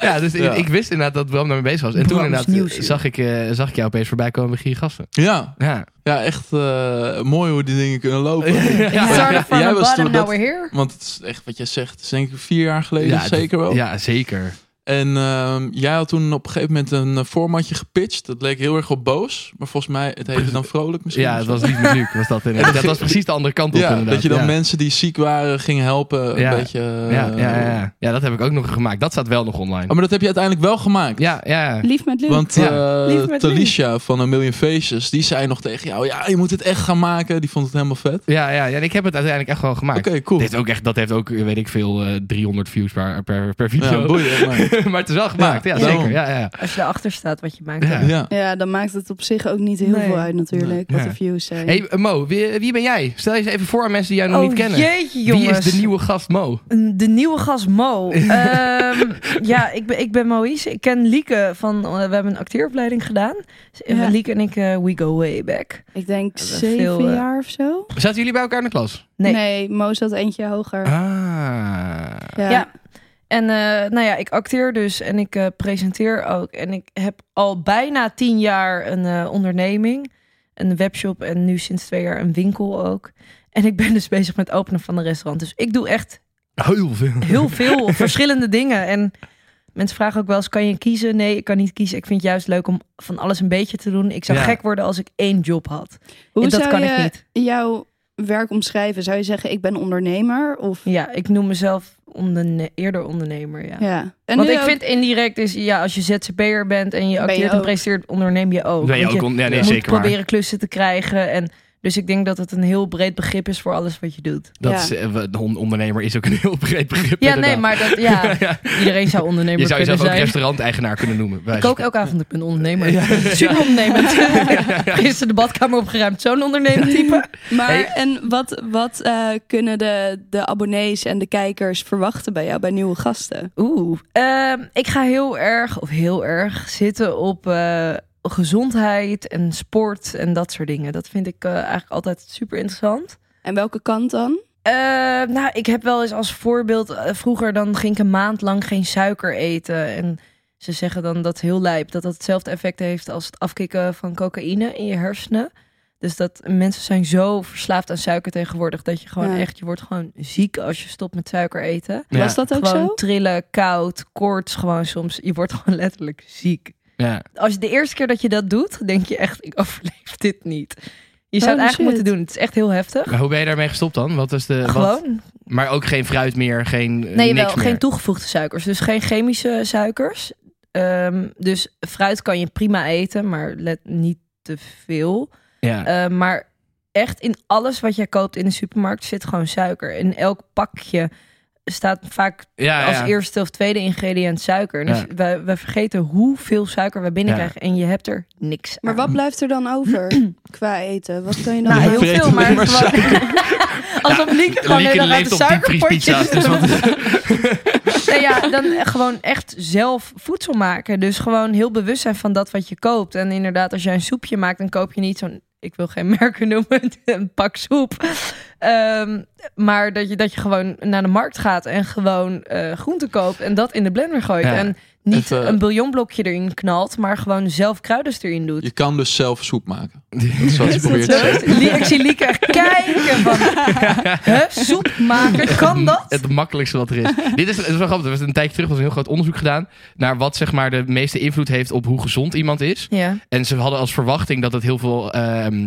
Speaker 5: Ja, dus ik-
Speaker 6: Ja.
Speaker 5: Ik, wist inderdaad dat Bram daarmee bezig was. En toen
Speaker 4: Brams
Speaker 5: inderdaad
Speaker 4: nieuws,
Speaker 5: eh,
Speaker 4: joh.
Speaker 5: zag, ik, eh, zag ik jou opeens voorbij komen met Gier Gasten.
Speaker 6: Ja,
Speaker 5: Ja.
Speaker 6: ja echt eh, mooi hoe die dingen kunnen lopen.
Speaker 4: It started from
Speaker 6: Jij
Speaker 4: the
Speaker 6: was
Speaker 4: bottom,
Speaker 6: toen
Speaker 4: now
Speaker 6: dat-
Speaker 4: we're here.
Speaker 6: Want het is echt wat jij zegt, het is denk ik vier jaar geleden,
Speaker 5: dat-
Speaker 6: zeker wel.
Speaker 5: Ja, zeker.
Speaker 6: En ehm, jij had toen op een gegeven moment een eh, formatje gepitcht. Dat leek heel erg op boos, maar volgens mij, het heette dan vrolijk misschien.
Speaker 5: Ja,
Speaker 6: of
Speaker 5: het
Speaker 6: zo.
Speaker 5: was niet met Luc, was dat inderdaad. Dat was precies de andere kant op
Speaker 6: ja,
Speaker 5: inderdaad.
Speaker 6: dat je dan
Speaker 5: ja.
Speaker 6: mensen die ziek waren ging helpen. Een
Speaker 5: Ja.
Speaker 6: beetje, eh,
Speaker 5: Ja, ja, ja, ja. Ja, dat heb ik ook nog gemaakt. Dat staat wel nog
Speaker 6: Oh,
Speaker 5: online.
Speaker 6: maar dat heb je uiteindelijk wel gemaakt.
Speaker 5: Ja, ja.
Speaker 2: Lief met Luc.
Speaker 6: Want eh,
Speaker 4: Lief met
Speaker 6: Talisha van Een Million Faces, die zei nog tegen jou, ja, je moet het echt gaan maken. Die vond het helemaal vet.
Speaker 5: Ja, ja, ja. En ik heb het uiteindelijk echt wel gemaakt.
Speaker 6: Oké, cool.
Speaker 5: Dit heeft ook echt, dat heeft ook, weet ik veel, eh, 300 views per, per, per
Speaker 6: Ja,
Speaker 5: video.
Speaker 6: boeien, maar-
Speaker 5: maar het is wel gemaakt, ja,
Speaker 6: Ja,
Speaker 5: zeker.
Speaker 6: daarom.
Speaker 5: Ja, ja.
Speaker 4: Als je erachter staat wat je maakt.
Speaker 5: Ja.
Speaker 6: ja.
Speaker 2: Ja, dan maakt het op zich ook niet heel
Speaker 4: Nee.
Speaker 2: veel uit natuurlijk, wat
Speaker 5: Nee. Ja.
Speaker 2: de views zijn.
Speaker 5: Hey eh, Mo, wie, wie ben jij? Stel je eens even voor aan mensen die jij nog
Speaker 4: Oh,
Speaker 5: niet kennen.
Speaker 4: jeetje
Speaker 5: Wie
Speaker 4: jongens.
Speaker 5: is de nieuwe gast Mo?
Speaker 4: de nieuwe gast Mo. Ehm, ja, ik ben, ik ben Moïse. Ik ken Lieke van. eh, we hebben een acteeropleiding gedaan. Dus, eh,
Speaker 2: Ja.
Speaker 4: Lieke en ik, eh, we go way back.
Speaker 2: Ik denk
Speaker 4: Dat is
Speaker 2: zeven
Speaker 4: veel, eh,
Speaker 2: jaar of zo.
Speaker 5: Zaten jullie bij elkaar in de klas?
Speaker 4: Nee.
Speaker 2: Nee, Mo zat eentje hoger.
Speaker 5: Ah.
Speaker 2: Ja.
Speaker 4: Ja. En eh, nou ja, ik acteer dus en ik eh, presenteer ook. En ik heb al bijna tien jaar een eh, onderneming. Een webshop en nu sinds twee jaar een winkel ook. En ik ben dus bezig met het openen van een restaurant. Dus ik doe echt
Speaker 5: Ah. Heel veel.
Speaker 4: heel veel verschillende dingen. En mensen vragen ook wel eens, kan je kiezen? Nee, ik kan niet kiezen. Ik vind het juist leuk om van alles een beetje te doen. Ik zou
Speaker 5: Ja.
Speaker 4: gek worden als ik één job had.
Speaker 2: Hoe
Speaker 4: en dat
Speaker 2: zou
Speaker 4: kan
Speaker 2: je
Speaker 4: ik niet.
Speaker 2: jouw werk omschrijven? Zou je zeggen, ik ben ondernemer? Of,
Speaker 4: Ja, ik noem mezelf onderne eerder ondernemer, ja.
Speaker 2: ja. En
Speaker 4: Want
Speaker 2: nu
Speaker 4: ik
Speaker 2: ook-
Speaker 4: vind indirect is, ja, als je zzp'er bent en je
Speaker 2: je
Speaker 4: acteert en
Speaker 2: ook.
Speaker 4: presenteert, onderneem je ook.
Speaker 5: Ben je
Speaker 4: Want
Speaker 5: ook on- ja, nee,
Speaker 4: Oh, moet
Speaker 5: zeker waar.
Speaker 4: proberen klussen te krijgen. En dus ik denk dat het een heel breed begrip is voor alles wat je doet.
Speaker 5: Dat
Speaker 2: Ja.
Speaker 5: is, eh, we- de on- ondernemer is ook een heel breed begrip.
Speaker 4: Ja, nee,
Speaker 5: inderdaad.
Speaker 4: maar dat, ja, iedereen zou ondernemer
Speaker 5: Je
Speaker 4: kunnen
Speaker 5: zou jezelf ook
Speaker 4: zijn.
Speaker 5: restaurant-eigenaar kunnen noemen. bij
Speaker 4: Ik
Speaker 5: wijze
Speaker 4: ook
Speaker 5: van-
Speaker 4: elke avond, ik ben ondernemer. Super ondernemend. Gisteren de badkamer opgeruimd. Zo'n ondernemend type.
Speaker 2: Maar
Speaker 5: Hey.
Speaker 2: en wat, wat eh, kunnen de, de abonnees en de kijkers verwachten bij jou, bij nieuwe gasten?
Speaker 4: Oeh. Ehm, ik ga heel erg, of heel erg, zitten op eh, gezondheid en sport en dat soort dingen. Dat vind ik eh, eigenlijk altijd super interessant.
Speaker 2: En welke kant dan?
Speaker 4: Eh, nou, ik heb wel eens als voorbeeld... eh, vroeger dan ging ik een maand lang geen suiker eten. En ze zeggen dan dat heel lijp. Dat dat hetzelfde effect heeft als het afkicken van cocaïne in je hersenen. Dus dat mensen zijn zo verslaafd aan suiker tegenwoordig... dat je gewoon
Speaker 2: Ja.
Speaker 4: echt... je wordt gewoon ziek als je stopt met suiker eten.
Speaker 5: Ja.
Speaker 2: Was dat ook
Speaker 4: gewoon
Speaker 2: zo?
Speaker 4: trillen, koud, koorts gewoon soms. Je wordt gewoon letterlijk ziek.
Speaker 5: Ja.
Speaker 4: Als je de eerste keer dat je dat doet, denk je echt... ik overleef dit niet. Je zou
Speaker 2: Holy
Speaker 4: het eigenlijk
Speaker 2: Oh, shit.
Speaker 4: moeten doen. Het is echt heel heftig.
Speaker 5: Maar hoe ben je daarmee gestopt dan? Wat is de, wat,
Speaker 4: Gewoon
Speaker 5: maar ook geen fruit meer, geen eh,
Speaker 4: Nee,
Speaker 5: niks
Speaker 4: wel,
Speaker 5: meer.
Speaker 4: geen toegevoegde suikers. Dus geen chemische suikers. Ehm, dus fruit kan je prima eten, maar let niet te veel.
Speaker 5: ja.
Speaker 4: Ehm, maar echt in alles wat jij koopt in de supermarkt zit gewoon suiker. In elk pakje staat vaak
Speaker 5: ja,
Speaker 4: als
Speaker 5: Ah, ja.
Speaker 4: eerste of tweede ingrediënt suiker. Dus
Speaker 5: Ja.
Speaker 4: wij, wij vergeten hoeveel suiker we binnenkrijgen en je hebt er niks
Speaker 2: Maar
Speaker 4: aan.
Speaker 2: wat blijft er dan over qua eten? Wat kan je dan
Speaker 4: Nou,
Speaker 2: doen?
Speaker 4: heel
Speaker 6: Vreten
Speaker 4: veel,
Speaker 6: alleen
Speaker 4: maar,
Speaker 6: maar
Speaker 4: gewoon- Alsof Lieke gewoon
Speaker 5: Lieke
Speaker 4: heel erg uit
Speaker 5: leeft
Speaker 4: de
Speaker 5: op diepvriespizza's.
Speaker 4: suikerpotjes.
Speaker 5: Dus wat,
Speaker 4: Nou ja, dan gewoon echt zelf voedsel maken. Dus gewoon heel bewust zijn van dat wat je koopt. En inderdaad, als jij een soepje maakt, dan koop je niet zo'n ik wil geen merken noemen, een pak soep. Ehm, maar dat je, dat je gewoon naar de markt gaat en gewoon eh groenten koopt en dat in de blender gooit.
Speaker 5: Ja.
Speaker 4: En niet
Speaker 6: Het, eh,
Speaker 4: een bouillonblokje erin knalt, maar gewoon zelf kruiden erin doet.
Speaker 6: Je kan dus zelf soep maken. Dat is wat ze probeert
Speaker 4: Zo,
Speaker 6: te zeggen.
Speaker 4: Lie- Ik zie Lieke echt kijken van, huh, soep maken, kan dat?
Speaker 5: Mm, Het makkelijkste wat er is. Dit is, het is wel grappig. Er was een tijdje terug was een heel groot onderzoek gedaan naar wat zeg maar, de meeste invloed heeft op hoe gezond iemand is.
Speaker 4: Ja.
Speaker 5: En ze hadden als verwachting dat het heel veel ehm,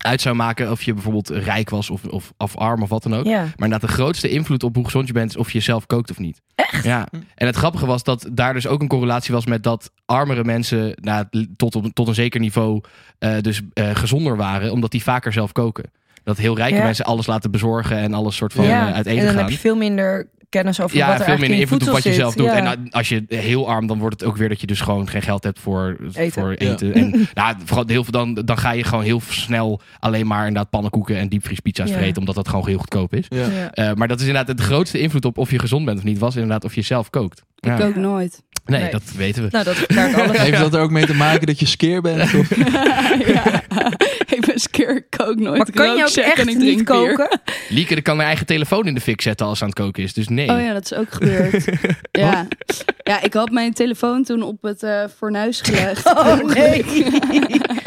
Speaker 5: uit zou maken of je bijvoorbeeld rijk was of, of, of arm of wat dan ook.
Speaker 4: ja.
Speaker 5: Maar inderdaad, de grootste invloed op hoe gezond je bent is of je zelf kookt of niet. Echt? Ja. En het grappige was dat daar dus ook een correlatie was met dat armere mensen nou, tot, op, tot een zeker niveau eh, dus eh, gezonder waren, omdat die vaker zelf koken. Dat heel rijke
Speaker 4: Ja.
Speaker 5: mensen alles laten bezorgen en alles soort van
Speaker 4: ja.
Speaker 5: eh, uit
Speaker 4: en
Speaker 5: eten
Speaker 4: dan
Speaker 5: gaan.
Speaker 4: heb je veel minder kennis over
Speaker 5: Ja,
Speaker 4: wat er
Speaker 5: veel
Speaker 4: eigenlijk
Speaker 5: minder
Speaker 4: in
Speaker 5: invloed op
Speaker 4: voedsel
Speaker 5: wat je
Speaker 4: zit.
Speaker 5: zelf doet.
Speaker 4: Ja.
Speaker 5: En nou, als je heel arm, dan wordt het ook weer dat je dus gewoon geen geld hebt voor
Speaker 4: Eten.
Speaker 5: eten. Voor eten. En nou, vooral heel veel, dan, dan ga je gewoon heel snel alleen maar inderdaad pannenkoeken en diepvriespizza's
Speaker 4: Ja.
Speaker 5: vreten, omdat dat gewoon heel goedkoop is.
Speaker 6: Ja.
Speaker 4: Ja.
Speaker 5: Eh, maar dat is inderdaad het grootste invloed op of je gezond bent of niet, was inderdaad of je zelf kookt. Ja.
Speaker 2: Ik ook nooit.
Speaker 5: Nee,
Speaker 4: Nee.
Speaker 5: dat weten we.
Speaker 4: Nou, dat verklaart alles.
Speaker 6: Heeft dat er ook mee te maken dat je skeer bent? Of?
Speaker 2: ja. ik ben skeer, ik kook nooit.
Speaker 4: Maar kan je ook
Speaker 2: Rookcheck en
Speaker 4: echt
Speaker 2: ik drink bier.
Speaker 4: niet koken?
Speaker 5: Lieke die kan haar eigen telefoon in de fik zetten als ze aan het koken is, dus nee.
Speaker 2: Oh ja, dat is ook gebeurd. ja. ja, ik had mijn telefoon toen op het eh fornuis gelegd.
Speaker 4: Oh nee.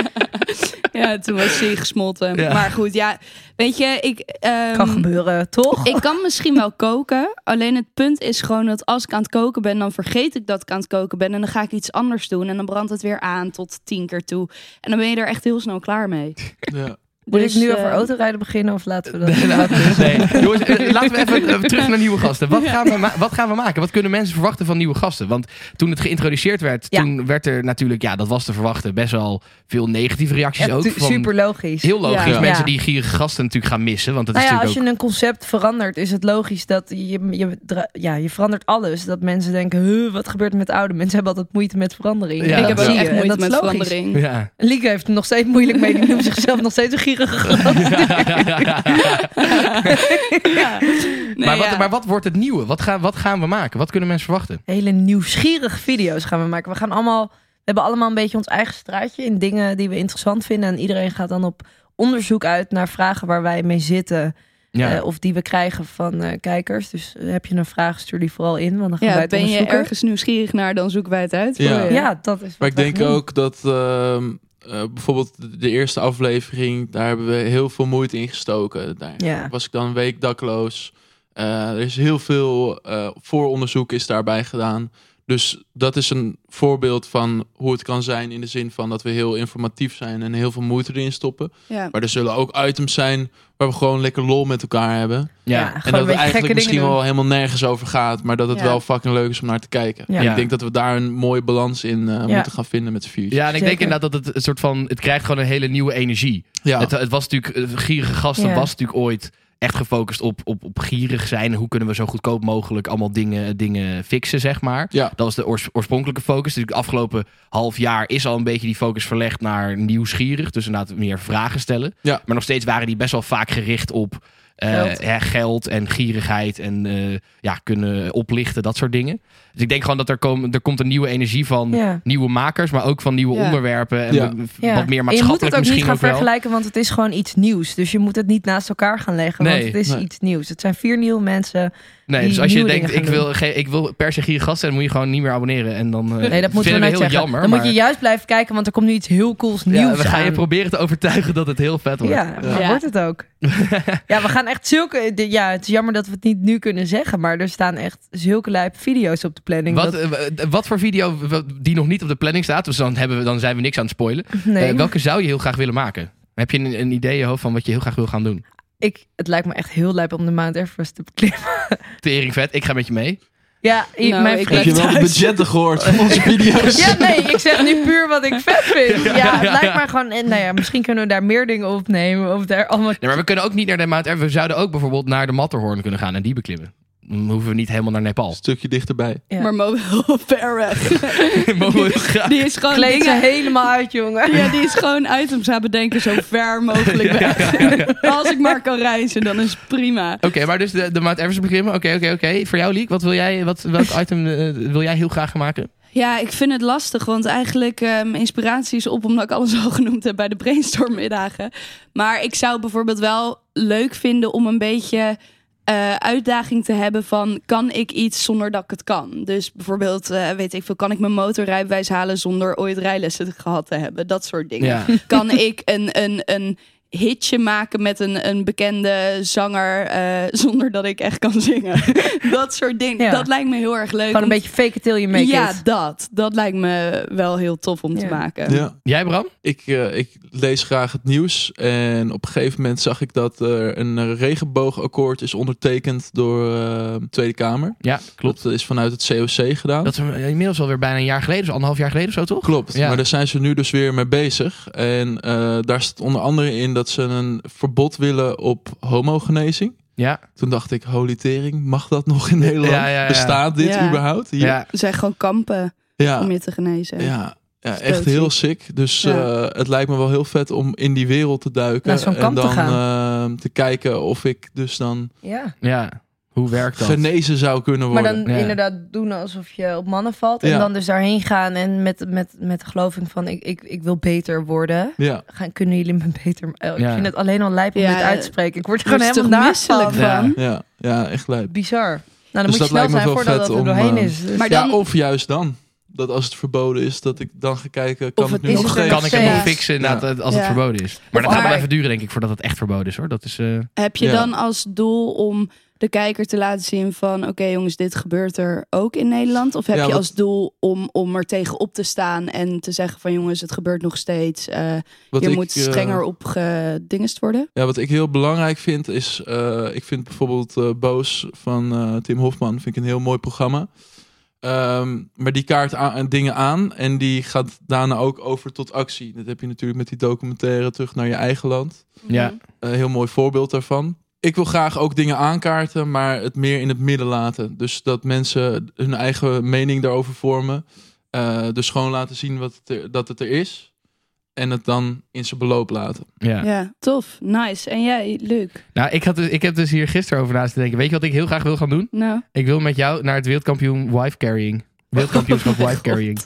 Speaker 2: ja, toen was hij gesmolten.
Speaker 5: Ja.
Speaker 2: Maar goed, ja, weet je, ik... ehm,
Speaker 4: Kan gebeuren, toch?
Speaker 2: ik kan misschien wel koken. Alleen het punt is gewoon dat als ik aan het koken ben, dan vergeet ik dat ik aan het koken ben. En dan ga ik iets anders doen. En dan brandt het weer aan tot tien keer toe. En dan ben je er echt heel snel klaar mee.
Speaker 6: Ja.
Speaker 4: Moet
Speaker 2: Dus,
Speaker 4: ik nu
Speaker 2: eh,
Speaker 4: over autorijden beginnen of laten we dat?
Speaker 5: Nee, nou, nee. Jongens, eh, laten we even eh, terug naar nieuwe gasten. Wat gaan, we ma- wat gaan we maken? Wat kunnen mensen verwachten van nieuwe gasten? Want toen het geïntroduceerd werd,
Speaker 4: Ja.
Speaker 5: toen werd er natuurlijk, ja, dat was te verwachten, best wel veel negatieve reacties
Speaker 4: Ja,
Speaker 5: ook.
Speaker 4: tu-
Speaker 5: Van,
Speaker 4: super logisch.
Speaker 5: Heel logisch.
Speaker 6: Ja.
Speaker 5: Mensen
Speaker 4: Ja.
Speaker 5: die gierige gasten natuurlijk gaan missen, want dat
Speaker 4: nou
Speaker 5: is
Speaker 4: ja, als
Speaker 5: natuurlijk
Speaker 4: je een concept verandert, is het logisch dat je, je, dra- ja, je verandert alles. Dat mensen denken, huh, wat gebeurt er met oude mensen? hebben altijd moeite met verandering.
Speaker 5: Ja.
Speaker 4: En
Speaker 2: ik
Speaker 4: dat
Speaker 2: heb
Speaker 5: ook
Speaker 2: ook
Speaker 4: zie je.
Speaker 2: echt
Speaker 4: En
Speaker 2: moeite
Speaker 4: dat is
Speaker 2: met
Speaker 4: logisch.
Speaker 2: verandering.
Speaker 5: ook... Ja.
Speaker 4: Lieke heeft er nog steeds moeilijk mee. Die noemt zichzelf nog steeds een gierige gast.
Speaker 2: Ja. Nee,
Speaker 5: maar, wat,
Speaker 2: ja.
Speaker 5: maar wat wordt het nieuwe? Wat, gaan wat gaan we maken? Wat kunnen mensen verwachten?
Speaker 4: hele nieuwsgierige video's gaan we maken. We gaan allemaal, we hebben allemaal een beetje ons eigen straatje in dingen die we interessant vinden. En iedereen gaat dan op onderzoek uit naar vragen waar wij mee zitten.
Speaker 5: Ja.
Speaker 4: eh, of die we krijgen van eh, kijkers. Dus eh, heb je een vraag, stuur die vooral in. Want dan gaan wij
Speaker 2: Ja,
Speaker 4: het
Speaker 2: ben je
Speaker 4: onderzoeken.
Speaker 2: ergens nieuwsgierig naar, dan zoeken wij het uit. voor
Speaker 6: Ja.
Speaker 2: je.
Speaker 4: Ja, dat is wat
Speaker 6: Maar ik
Speaker 4: we
Speaker 6: denk
Speaker 4: gaan doen.
Speaker 6: ook dat ehm, eh, bijvoorbeeld de eerste aflevering, daar hebben we heel veel moeite in gestoken. Daar
Speaker 4: Ja.
Speaker 6: was ik dan een week dakloos. Eh, er is heel veel eh, vooronderzoek is daarbij gedaan. Dus dat is een voorbeeld van hoe het kan zijn in de zin van dat we heel informatief zijn en heel veel moeite erin stoppen.
Speaker 2: Ja.
Speaker 6: Maar er zullen ook items zijn waar we gewoon lekker lol met elkaar hebben.
Speaker 4: Ja,
Speaker 5: Ja.
Speaker 4: gewoon
Speaker 6: En
Speaker 4: een
Speaker 6: dat het
Speaker 4: beetje gekke
Speaker 6: eigenlijk misschien
Speaker 4: dingen
Speaker 6: wel helemaal nergens over gaat, maar dat het
Speaker 2: Ja.
Speaker 6: wel fucking leuk is om naar te kijken.
Speaker 4: Ja.
Speaker 6: En
Speaker 5: Ja.
Speaker 6: Ik denk dat we daar een mooie balans in eh, moeten gaan vinden met z'n viertjes.
Speaker 5: Ja, en ik denk
Speaker 4: Zeker.
Speaker 5: inderdaad dat het een soort van. Het krijgt gewoon een hele nieuwe energie.
Speaker 6: Ja.
Speaker 5: Het, het was natuurlijk. eh, Gierige gasten
Speaker 4: Ja.
Speaker 5: was natuurlijk ooit echt gefocust op, op, op gierig zijn. Hoe kunnen we zo goedkoop mogelijk allemaal dingen, dingen fixen, zeg maar.
Speaker 6: Ja.
Speaker 5: Dat was de oors- oorspronkelijke focus. Natuurlijk, afgelopen half jaar is al een beetje die focus verlegd naar nieuwsgierig. Dus inderdaad meer vragen stellen.
Speaker 6: Ja.
Speaker 5: Maar nog steeds waren die best wel vaak gericht op. eh,
Speaker 4: Geld.
Speaker 5: hè, geld en gierigheid en eh, ja, kunnen oplichten, dat soort dingen. Dus ik denk gewoon dat er, komen er komt een nieuwe energie van
Speaker 4: doen. Ja.
Speaker 5: nieuwe makers, maar ook van nieuwe
Speaker 2: Ja.
Speaker 5: onderwerpen en
Speaker 6: Ja.
Speaker 4: Ja.
Speaker 5: wat- wat meer
Speaker 4: En je moet
Speaker 5: maatschappelijk
Speaker 4: het ook niet
Speaker 5: misschien
Speaker 4: gaan
Speaker 5: ook wel.
Speaker 4: vergelijken, want het is gewoon iets nieuws. Dus je moet het niet naast elkaar gaan leggen,
Speaker 5: Nee,
Speaker 4: want het is
Speaker 6: nee.
Speaker 4: iets nieuws. Het zijn vier nieuwe mensen.
Speaker 5: Nee,
Speaker 4: die
Speaker 5: dus als je
Speaker 4: nieuwe
Speaker 5: denkt
Speaker 4: dingen
Speaker 5: ik
Speaker 4: gaan
Speaker 5: wil, geen- ik wil per se hier gast zijn, dan moet je gewoon niet meer abonneren en dan eh
Speaker 4: Nee, dat moeten we
Speaker 5: vinden we
Speaker 4: nooit
Speaker 5: heel
Speaker 4: zeggen.
Speaker 5: jammer.
Speaker 4: dan moet
Speaker 5: maar-
Speaker 4: je juist blijven kijken, want er komt nu iets heel cools
Speaker 5: Ja,
Speaker 4: nieuws
Speaker 5: we gaan je
Speaker 4: aan.
Speaker 5: proberen te overtuigen dat het heel vet wordt.
Speaker 4: Ja, maar
Speaker 2: Ja.
Speaker 4: wordt het ook. ja, we gaan echt zulke... de- Ja, het is jammer dat we het niet nu kunnen zeggen, maar er staan echt zulke lijpe video's op de planning.
Speaker 5: Wat,
Speaker 4: dat,
Speaker 5: eh, wat voor video w- w- die nog niet op de planning staat, dus dan, hebben we, dan zijn we niks aan het spoilen.
Speaker 4: nee,
Speaker 5: Eh, welke zou je heel graag willen maken? Heb je een, een idee in je hoofd van wat je heel graag wil gaan doen?
Speaker 4: ik, het lijkt me echt heel lijp om de Mount Everest te beklimmen.
Speaker 5: Tering vet, ik ga met je mee.
Speaker 4: Ja, i-
Speaker 2: Nou,
Speaker 4: mijn
Speaker 2: ik
Speaker 6: Heb
Speaker 4: vriend...
Speaker 6: je wel de budgetten gehoord van onze video's?
Speaker 4: Ja, nee, ik zeg nu puur wat ik vet vind. Ja, het lijkt me gewoon... en Nou ja, misschien kunnen we daar meer dingen opnemen. Of daar allemaal...
Speaker 5: Nee, maar we kunnen ook niet naar de Mount Everest. We zouden ook bijvoorbeeld naar de Matterhorn kunnen gaan en die beklimmen. Dan hoeven we niet helemaal naar Nepal.
Speaker 6: Een stukje dichterbij.
Speaker 4: Ja.
Speaker 2: Maar mobile ver weg.
Speaker 5: Mogen we graag-
Speaker 2: Die is gewoon
Speaker 4: Kleed ze
Speaker 2: dingen...
Speaker 4: helemaal uit, jongen.
Speaker 2: Ja, die is gewoon items aan bedenken zo ver mogelijk weg. Als ik maar kan reizen, dan is het prima.
Speaker 5: Oké, maar dus de, de Mount Everest beklimmen. Oké, oké, oké. Voor jou, Liek, wat wil jij, wat, welk item eh, wil jij heel graag gaan maken?
Speaker 2: Ja, ik vind het lastig, want eigenlijk ehm inspiratie is op omdat ik alles al genoemd heb bij de brainstormmiddagen. Maar ik zou bijvoorbeeld wel leuk vinden om een beetje eh, uitdaging te hebben van kan ik iets zonder dat ik het kan? Dus bijvoorbeeld, eh, weet ik veel, kan ik mijn motorrijbewijs halen zonder ooit rijlessen gehad te hebben? Dat soort dingen.
Speaker 5: Ja.
Speaker 2: Kan ik een, een, een hitje maken met een, een bekende zanger eh, zonder dat ik echt kan zingen? dat soort dingen.
Speaker 4: Ja.
Speaker 2: Dat lijkt me heel erg leuk.
Speaker 4: Gewoon een
Speaker 2: om
Speaker 4: beetje fake it till you make
Speaker 2: ja,
Speaker 4: it.
Speaker 2: dat. Dat lijkt me wel heel tof om te
Speaker 4: Ja.
Speaker 2: maken.
Speaker 6: Ja.
Speaker 5: Jij, Bram?
Speaker 6: Ik, eh, ik lees graag het nieuws. En op een gegeven moment zag ik dat er een regenboogakkoord is ondertekend door eh, de Tweede Kamer.
Speaker 5: Ja, klopt.
Speaker 6: Dat is vanuit het COC gedaan.
Speaker 5: Oh. Dat is een- inmiddels alweer bijna een jaar geleden, dus anderhalf jaar geleden of zo, toch?
Speaker 6: Klopt,
Speaker 5: Ja.
Speaker 6: maar daar zijn ze nu dus weer mee bezig. En eh, daar staat onder andere in dat ze een verbod willen op homogenezing.
Speaker 5: Ja.
Speaker 6: Toen dacht ik, holy tering, mag dat nog in Nederland?
Speaker 5: Ja, ja, ja.
Speaker 6: Bestaat dit
Speaker 2: Ja.
Speaker 6: überhaupt? Hier?
Speaker 5: ja.
Speaker 2: Er zijn gewoon kampen om
Speaker 6: ja.
Speaker 2: je te genezen.
Speaker 6: ja. Ja, echt
Speaker 2: Stotie.
Speaker 6: heel sick. Dus
Speaker 2: Ja.
Speaker 6: eh, het lijkt me wel heel vet om in die wereld te duiken.
Speaker 4: Naar zo'n
Speaker 6: en
Speaker 4: kamp te
Speaker 6: dan
Speaker 4: gaan.
Speaker 6: eh, te kijken of ik dus dan
Speaker 4: Ja.
Speaker 5: Ja. Hoe werkt dat?
Speaker 6: genezen zou kunnen
Speaker 4: Maar
Speaker 6: worden.
Speaker 4: dan
Speaker 5: Ja.
Speaker 4: inderdaad doen alsof je op mannen valt. En
Speaker 6: Ja.
Speaker 4: dan dus daarheen gaan en met, met, met de geloving van ik, ik, ik wil beter worden.
Speaker 6: Ja,
Speaker 4: Gaan, kunnen jullie me beter... ma- Oh, ik
Speaker 5: Ja.
Speaker 4: vind het alleen al lijp om
Speaker 2: Ja,
Speaker 4: dit uit te spreken. Ik word er
Speaker 2: Daar
Speaker 4: gewoon
Speaker 2: word je
Speaker 4: helemaal
Speaker 2: toch
Speaker 4: naast van.
Speaker 2: misselijk
Speaker 5: Ja.
Speaker 2: van?
Speaker 6: ja, ja, echt lijp.
Speaker 4: Bizar. Nou, dan
Speaker 6: Dus
Speaker 4: moet je
Speaker 6: dat
Speaker 4: snel
Speaker 6: lijkt me
Speaker 4: zijn
Speaker 6: wel
Speaker 4: voordat
Speaker 6: vet
Speaker 4: het er
Speaker 6: om,
Speaker 4: doorheen
Speaker 6: eh,
Speaker 4: is. Dus-
Speaker 2: Maar
Speaker 6: Ja,
Speaker 2: dan-
Speaker 6: of juist dan. Dat als het verboden is, dat ik dan ga kijken, kan
Speaker 2: Of
Speaker 6: het
Speaker 2: het
Speaker 6: nu
Speaker 4: is
Speaker 6: nog
Speaker 4: het er
Speaker 6: steeds?
Speaker 5: Kan ik het
Speaker 4: Ja.
Speaker 5: nog fixen na het- als het
Speaker 2: Ja. Mhm.
Speaker 5: verboden is? Maar dat gaat wel
Speaker 2: Maar-
Speaker 5: even duren, denk ik, voordat het echt verboden is, hoor. Dat is... eh,
Speaker 2: Heb je
Speaker 6: Ja.
Speaker 2: dan als doel om de kijker te laten zien van... oké jongens, dit gebeurt er ook in Nederland? Of heb
Speaker 6: Ja,
Speaker 2: je
Speaker 6: wat-
Speaker 2: als doel om, om er tegen op te staan en te zeggen van... jongens, het gebeurt nog steeds. eh,
Speaker 6: Wat
Speaker 2: je
Speaker 6: ik,
Speaker 2: moet
Speaker 6: eh,
Speaker 2: strenger op gedingest worden.
Speaker 6: ja, wat ik heel belangrijk vind is, eh, ik vind bijvoorbeeld eh, Boos van eh, Tim Hofman vind ik een heel mooi programma. Ehm, maar die kaart aan, en dingen aan en die gaat daarna ook over tot actie. Dat heb je natuurlijk met die documentaire terug naar je eigen land.
Speaker 5: ja.
Speaker 6: Een heel mooi voorbeeld daarvan. Ik wil graag ook dingen aankaarten, maar het meer in het midden laten. Dus dat mensen hun eigen mening daarover vormen. Eh, dus gewoon laten zien wat het er- dat het er is. En het dan in zijn beloop laten.
Speaker 5: ja.
Speaker 2: Ja. tof. Nice. En jij, Luc?
Speaker 5: Nou, ik, had, dus- ik heb dus hier gisteren over naast te denken. Weet je wat ik heel graag wil gaan doen?
Speaker 2: Nou,
Speaker 5: Ik wil met jou naar het wereldkampioen wife carrying. Wereldkampioenschap wife carrying.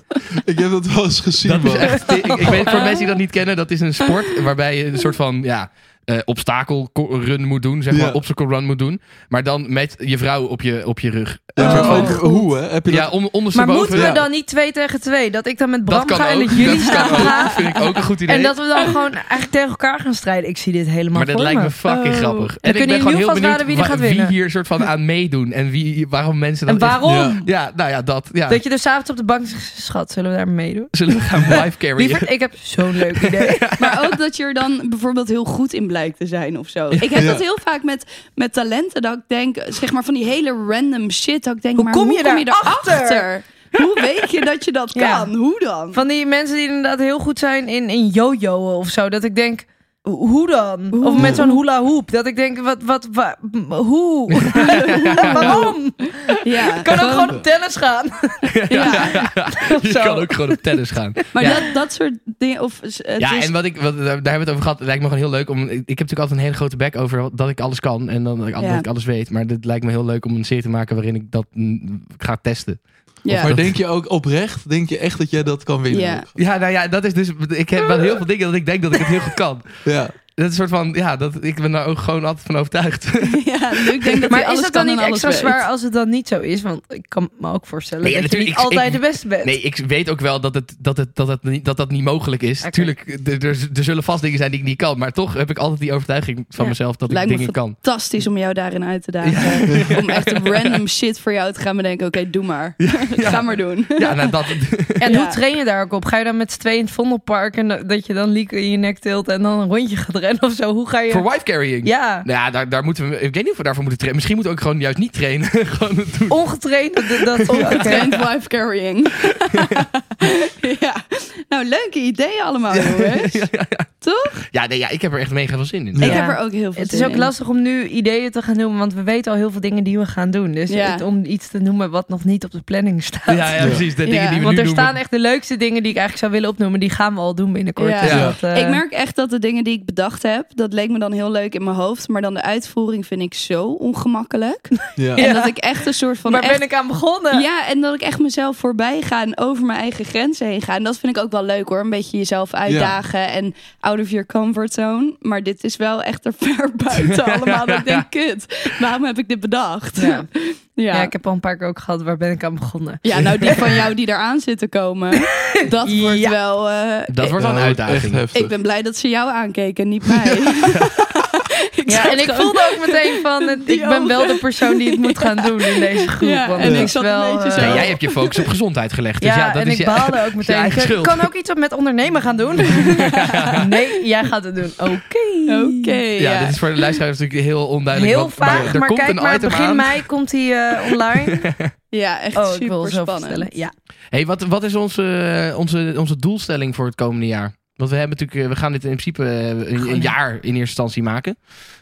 Speaker 6: Ik heb dat wel eens gezien.
Speaker 5: Dat is
Speaker 6: man.
Speaker 5: echt. Ik, ik weet voor mensen die dat niet kennen, dat is een sport waarbij je een soort van ja, eh, obstakelrun moet doen, zeg maar,
Speaker 6: Ja.
Speaker 5: obstacle run moet doen, maar dan met je vrouw op je, op je rug.
Speaker 6: Ja, maar
Speaker 4: Oh.
Speaker 6: ook hoe, hè? Heb je dat?
Speaker 5: Ja, on,
Speaker 4: Maar
Speaker 5: ondersteboven.
Speaker 4: moeten we
Speaker 6: ja.
Speaker 4: dan niet twee tegen twee? Dat ik dan met
Speaker 5: dat
Speaker 4: Bram
Speaker 5: kan
Speaker 4: ga en
Speaker 5: ook.
Speaker 4: dat jullie
Speaker 5: Dat kan
Speaker 4: samen
Speaker 5: ook.
Speaker 4: gaan?
Speaker 5: Vind ik ook een goed idee.
Speaker 4: En dat we dan gewoon eigenlijk tegen elkaar gaan strijden. Ik zie dit helemaal
Speaker 5: maar dat
Speaker 4: voor
Speaker 5: lijkt me
Speaker 4: me. Ehm,
Speaker 5: fucking
Speaker 2: Oh.
Speaker 5: grappig.
Speaker 4: Dan
Speaker 5: En ik
Speaker 4: kun je in
Speaker 5: ben gewoon
Speaker 4: ieder
Speaker 5: heel
Speaker 4: geval
Speaker 5: benieuwd
Speaker 4: raden wie er
Speaker 5: wa-
Speaker 4: gaat winnen.
Speaker 5: hier soort van aan meedoen en wie, waarom mensen dat.
Speaker 4: En waarom?
Speaker 6: Ja.
Speaker 5: Ja, nou ja, dat. Ja.
Speaker 4: Dat je er s'avonds op de bank zegt, schat, zullen we daar meedoen?
Speaker 5: Zullen we gaan wife
Speaker 4: Die
Speaker 5: carryen?
Speaker 4: ver- Ik heb zo'n leuk idee.
Speaker 2: Maar ook dat je er dan bijvoorbeeld heel goed in blijkt te zijn of zo. Ik heb
Speaker 6: Ja.
Speaker 2: dat heel vaak met, met talenten. Dat ik denk, zeg maar van die hele random shit. Dat ik denk,
Speaker 4: Hoe
Speaker 2: maar
Speaker 4: kom
Speaker 2: hoe
Speaker 4: je
Speaker 2: kom je
Speaker 4: daarachter?
Speaker 2: daarachter? Hoe weet je dat je dat kan?
Speaker 4: Ja.
Speaker 2: Hoe dan?
Speaker 4: Van die mensen die inderdaad heel goed zijn in, in jojoen of zo. Dat ik denk, ho- hoe dan? Of met zo'n hula hoop. Dat ik denk, wat, wat, wa- m- hoe? Waarom?
Speaker 2: Ja,
Speaker 4: Kan ook
Speaker 2: gewoon-
Speaker 4: gewoon op tennis gaan.
Speaker 2: ja.
Speaker 5: je
Speaker 4: zo.
Speaker 5: kan ook gewoon op tennis gaan.
Speaker 2: Maar
Speaker 5: Ja.
Speaker 2: dat, dat soort dingen. Of, eh, het
Speaker 5: ja,
Speaker 2: is-
Speaker 5: en wat ik, wat, daar daar hebben we het over gehad. Het lijkt me gewoon heel leuk om. Ik ik heb natuurlijk altijd een hele grote bek over dat ik alles kan en dan dat ik, al-
Speaker 2: Ja.
Speaker 5: dat ik alles weet. Maar dit lijkt me heel leuk om een serie te maken waarin ik dat mm, ga testen.
Speaker 2: ja.
Speaker 6: Maar denk je ook oprecht? Denk je echt dat jij dat kan winnen?
Speaker 2: Ja.
Speaker 5: Ja, nou ja, dat is dus. Ik heb wel heel veel dingen dat ik denk dat ik het heel goed kan.
Speaker 6: Ja.
Speaker 5: Dat is een soort van. Ja, dat, ik ben daar ook gewoon altijd van overtuigd.
Speaker 2: ja, Luc denkt dat hij
Speaker 4: Maar
Speaker 2: alles
Speaker 4: is
Speaker 2: kan
Speaker 4: dat dan niet
Speaker 2: en alles
Speaker 4: extra
Speaker 2: weet.
Speaker 4: zwaar als het dan niet zo is? Want ik kan me ook voorstellen
Speaker 5: Nee, ja,
Speaker 4: dat je niet
Speaker 5: natuurlijk, ik-
Speaker 4: altijd
Speaker 5: ik-
Speaker 4: de beste bent.
Speaker 5: Nee, ik weet ook wel dat, het, dat, het, dat, het, niet- dat dat niet mogelijk is.
Speaker 4: Oké.
Speaker 5: Tuurlijk, er, er- er zullen vast dingen zijn die ik niet kan. Maar toch heb ik altijd die overtuiging van
Speaker 4: Ja.
Speaker 5: mezelf dat
Speaker 2: Lijkt
Speaker 5: ik
Speaker 2: me
Speaker 5: dingen kan.
Speaker 2: Fantastisch om jou daarin uit te dagen. Om echt random shit voor jou te gaan bedenken. Oké, doe maar. Ga maar doen.
Speaker 5: Ja, nou, dat,
Speaker 4: En
Speaker 2: Ja.
Speaker 4: hoe train je daar ook op? Ga je dan met z'n tweeën in het Vondelpark en da- dat je dan Lieke in je nek tilt en dan een rondje gaat rennen of zo? Hoe ga je...
Speaker 5: voor wife carrying.
Speaker 4: Ja,
Speaker 5: Nou ja, daar, daar moeten we. Ik weet niet of we daarvoor moeten trainen. Misschien moeten we ook gewoon juist niet trainen. gewoon het doen.
Speaker 4: ongetraind. Dat, dat,
Speaker 2: Trained wife carrying. ja. Nou, leuke ideeën allemaal, jongens. Toch?
Speaker 5: Ja, nee, ja, ik heb er echt mega veel zin in.
Speaker 6: Ja.
Speaker 2: Ik heb er ook heel veel
Speaker 4: Het is
Speaker 2: zin
Speaker 4: ook
Speaker 2: in.
Speaker 4: lastig om nu ideeën te gaan noemen, want we weten al heel veel dingen die we gaan doen. Dus
Speaker 2: Ja.
Speaker 4: het- om iets te noemen wat nog niet op de planning staat.
Speaker 5: Ja, ja, precies. De
Speaker 2: Ja,
Speaker 5: dingen die we
Speaker 4: Want
Speaker 5: nu
Speaker 4: er
Speaker 5: noemen.
Speaker 4: staan echt de leukste dingen die ik eigenlijk zou willen opnoemen, die gaan we al doen binnenkort.
Speaker 2: Ja.
Speaker 4: Dus
Speaker 6: Ja.
Speaker 4: dat, eh,
Speaker 2: Ik merk echt dat de dingen die ik bedacht heb, dat leek me dan heel leuk in mijn hoofd. Maar dan de uitvoering vind ik zo ongemakkelijk.
Speaker 6: Ja.
Speaker 4: Ja.
Speaker 2: En dat ik echt een soort van.
Speaker 4: Waar
Speaker 2: echt-
Speaker 4: ben ik aan begonnen?
Speaker 2: Ja, en dat ik echt mezelf voorbij ga en over mijn eigen grenzen heen ga. En dat vind ik ook wel leuk hoor. Een beetje jezelf uitdagen en out of your comfort zone. Maar dit is wel echt er ver buiten allemaal. Dat ik denk, kut, waarom heb ik dit bedacht?
Speaker 4: Ja.
Speaker 2: ja.
Speaker 4: Ja, ik heb al een paar keer ook gehad, waar ben ik aan begonnen?
Speaker 2: Ja, nou die van jou die eraan zit te komen. Dat wordt
Speaker 4: Ja.
Speaker 2: wel... eh,
Speaker 5: Dat wordt wel een
Speaker 6: Ja, Nou, wordt
Speaker 5: uitdaging.
Speaker 6: Echt heftig.
Speaker 2: ik ben blij dat ze jou aankeken, niet mij. Ik
Speaker 4: Ja,
Speaker 2: zat
Speaker 4: en ik
Speaker 2: gewoon-
Speaker 4: voelde ook meteen van, het-
Speaker 2: Die
Speaker 4: ik ben wel de persoon die het moet gaan doen in deze groep.
Speaker 2: Ja,
Speaker 4: want
Speaker 2: en
Speaker 4: het
Speaker 2: ik
Speaker 4: is
Speaker 2: zat een
Speaker 4: wel,
Speaker 2: beetje
Speaker 4: eh,
Speaker 2: zo.
Speaker 5: Nee, jij hebt je focus op gezondheid gelegd. Dus
Speaker 4: ja,
Speaker 5: ja, dat
Speaker 4: en
Speaker 5: is
Speaker 4: ik
Speaker 5: je-
Speaker 4: baalde ook meteen.
Speaker 5: eigen
Speaker 4: Ik
Speaker 5: schuld.
Speaker 4: kan ook iets op met ondernemen gaan doen. nee, jij gaat het doen. Oké.
Speaker 2: Oké,
Speaker 5: Ja,
Speaker 2: ja.
Speaker 5: dit is voor de luisteraars natuurlijk heel onduidelijk.
Speaker 4: Heel
Speaker 5: wat-
Speaker 4: vaag,
Speaker 5: er
Speaker 4: maar,
Speaker 5: komt
Speaker 4: kijk
Speaker 5: een
Speaker 4: maar,
Speaker 5: item
Speaker 4: begin
Speaker 5: aan.
Speaker 4: mei komt hij eh, online.
Speaker 2: Ja, echt
Speaker 4: oh, ik wil
Speaker 2: super
Speaker 4: zo
Speaker 2: spannend.
Speaker 4: vertellen. Ja.
Speaker 5: Hey, wat, wat is onze, eh, onze, onze doelstelling voor het komende jaar? Want we, hebben natuurlijk, eh, we gaan dit in principe eh, een, een jaar in eerste instantie maken.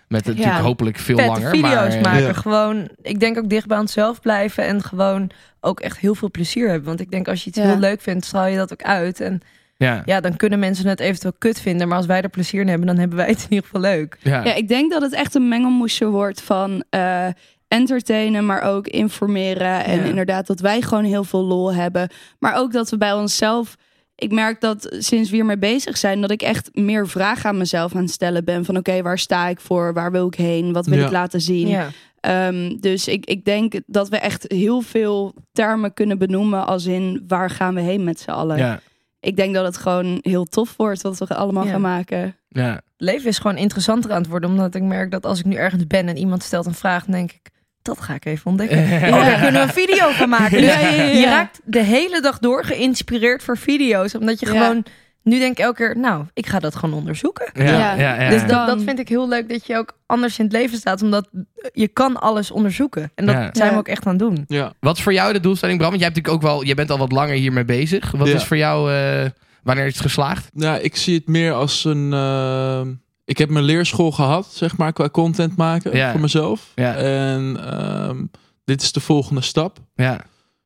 Speaker 5: Met eh, natuurlijk hopelijk veel
Speaker 4: Vette
Speaker 5: langer.
Speaker 4: video's
Speaker 5: maar, eh,
Speaker 4: maken.
Speaker 6: Ja.
Speaker 4: Gewoon, ik denk ook dicht bij onszelf blijven en gewoon ook echt heel veel plezier hebben. Want ik denk als je iets
Speaker 2: Ja.
Speaker 4: heel leuk vindt, straal je dat ook uit. En
Speaker 5: Ja, ja.
Speaker 4: ja, dan kunnen mensen het eventueel kut vinden. Maar als wij er plezier in hebben, dan hebben wij het in ieder geval leuk.
Speaker 2: Ja, ik denk dat het echt een mengelmoesje wordt van eh, entertainen, maar ook informeren. En
Speaker 4: Ja.
Speaker 2: inderdaad dat wij gewoon heel veel lol hebben. Maar ook dat we bij onszelf... Ik merk dat sinds we hiermee bezig zijn, dat ik echt meer vragen aan mezelf aan het stellen ben. Van oké, waar sta ik voor? Waar wil ik heen? Wat wil
Speaker 6: Ja.
Speaker 2: ik laten zien?
Speaker 4: Ja.
Speaker 2: Ehm, dus ik, ik denk dat we echt heel veel termen kunnen benoemen als in waar gaan we heen met z'n allen.
Speaker 5: ja,
Speaker 2: Ik denk dat het gewoon heel tof wordt wat we allemaal
Speaker 4: Ja.
Speaker 2: gaan maken.
Speaker 5: ja.
Speaker 4: Leven is gewoon interessanter aan het worden. Omdat ik merk dat als ik nu ergens ben en iemand stelt een vraag, dan denk ik... Dat ga ik even ontdekken. Oh, daar kunnen we een video van maken. Dus
Speaker 2: Ja, ja, ja, ja.
Speaker 4: Je raakt de hele dag door geïnspireerd voor video's. Omdat je
Speaker 2: Ja.
Speaker 4: gewoon... Nu denk ik elke keer, nou, ik ga dat gewoon onderzoeken.
Speaker 5: Ja, ja,
Speaker 2: Ja.
Speaker 5: ja, ja.
Speaker 4: Dus
Speaker 2: dan-
Speaker 4: dat, dat vind ik heel leuk dat je ook anders in het leven staat. Omdat je kan alles onderzoeken. En dat
Speaker 5: Ja.
Speaker 4: zijn we
Speaker 2: Ja.
Speaker 4: ook echt aan het doen.
Speaker 6: Ja.
Speaker 5: Wat is voor jou de doelstelling, Bram? Want jij, hebt natuurlijk ook wel, jij bent al wat langer hiermee bezig. Wat
Speaker 6: Ja.
Speaker 5: is voor jou, eh, wanneer is het geslaagd?
Speaker 6: Nou, ik zie het meer als een. ehm, ik heb mijn leerschool gehad, zeg maar, qua content maken
Speaker 5: Ja.
Speaker 6: voor mezelf.
Speaker 5: Ja.
Speaker 6: En ehm, dit is de volgende stap.
Speaker 5: Ja,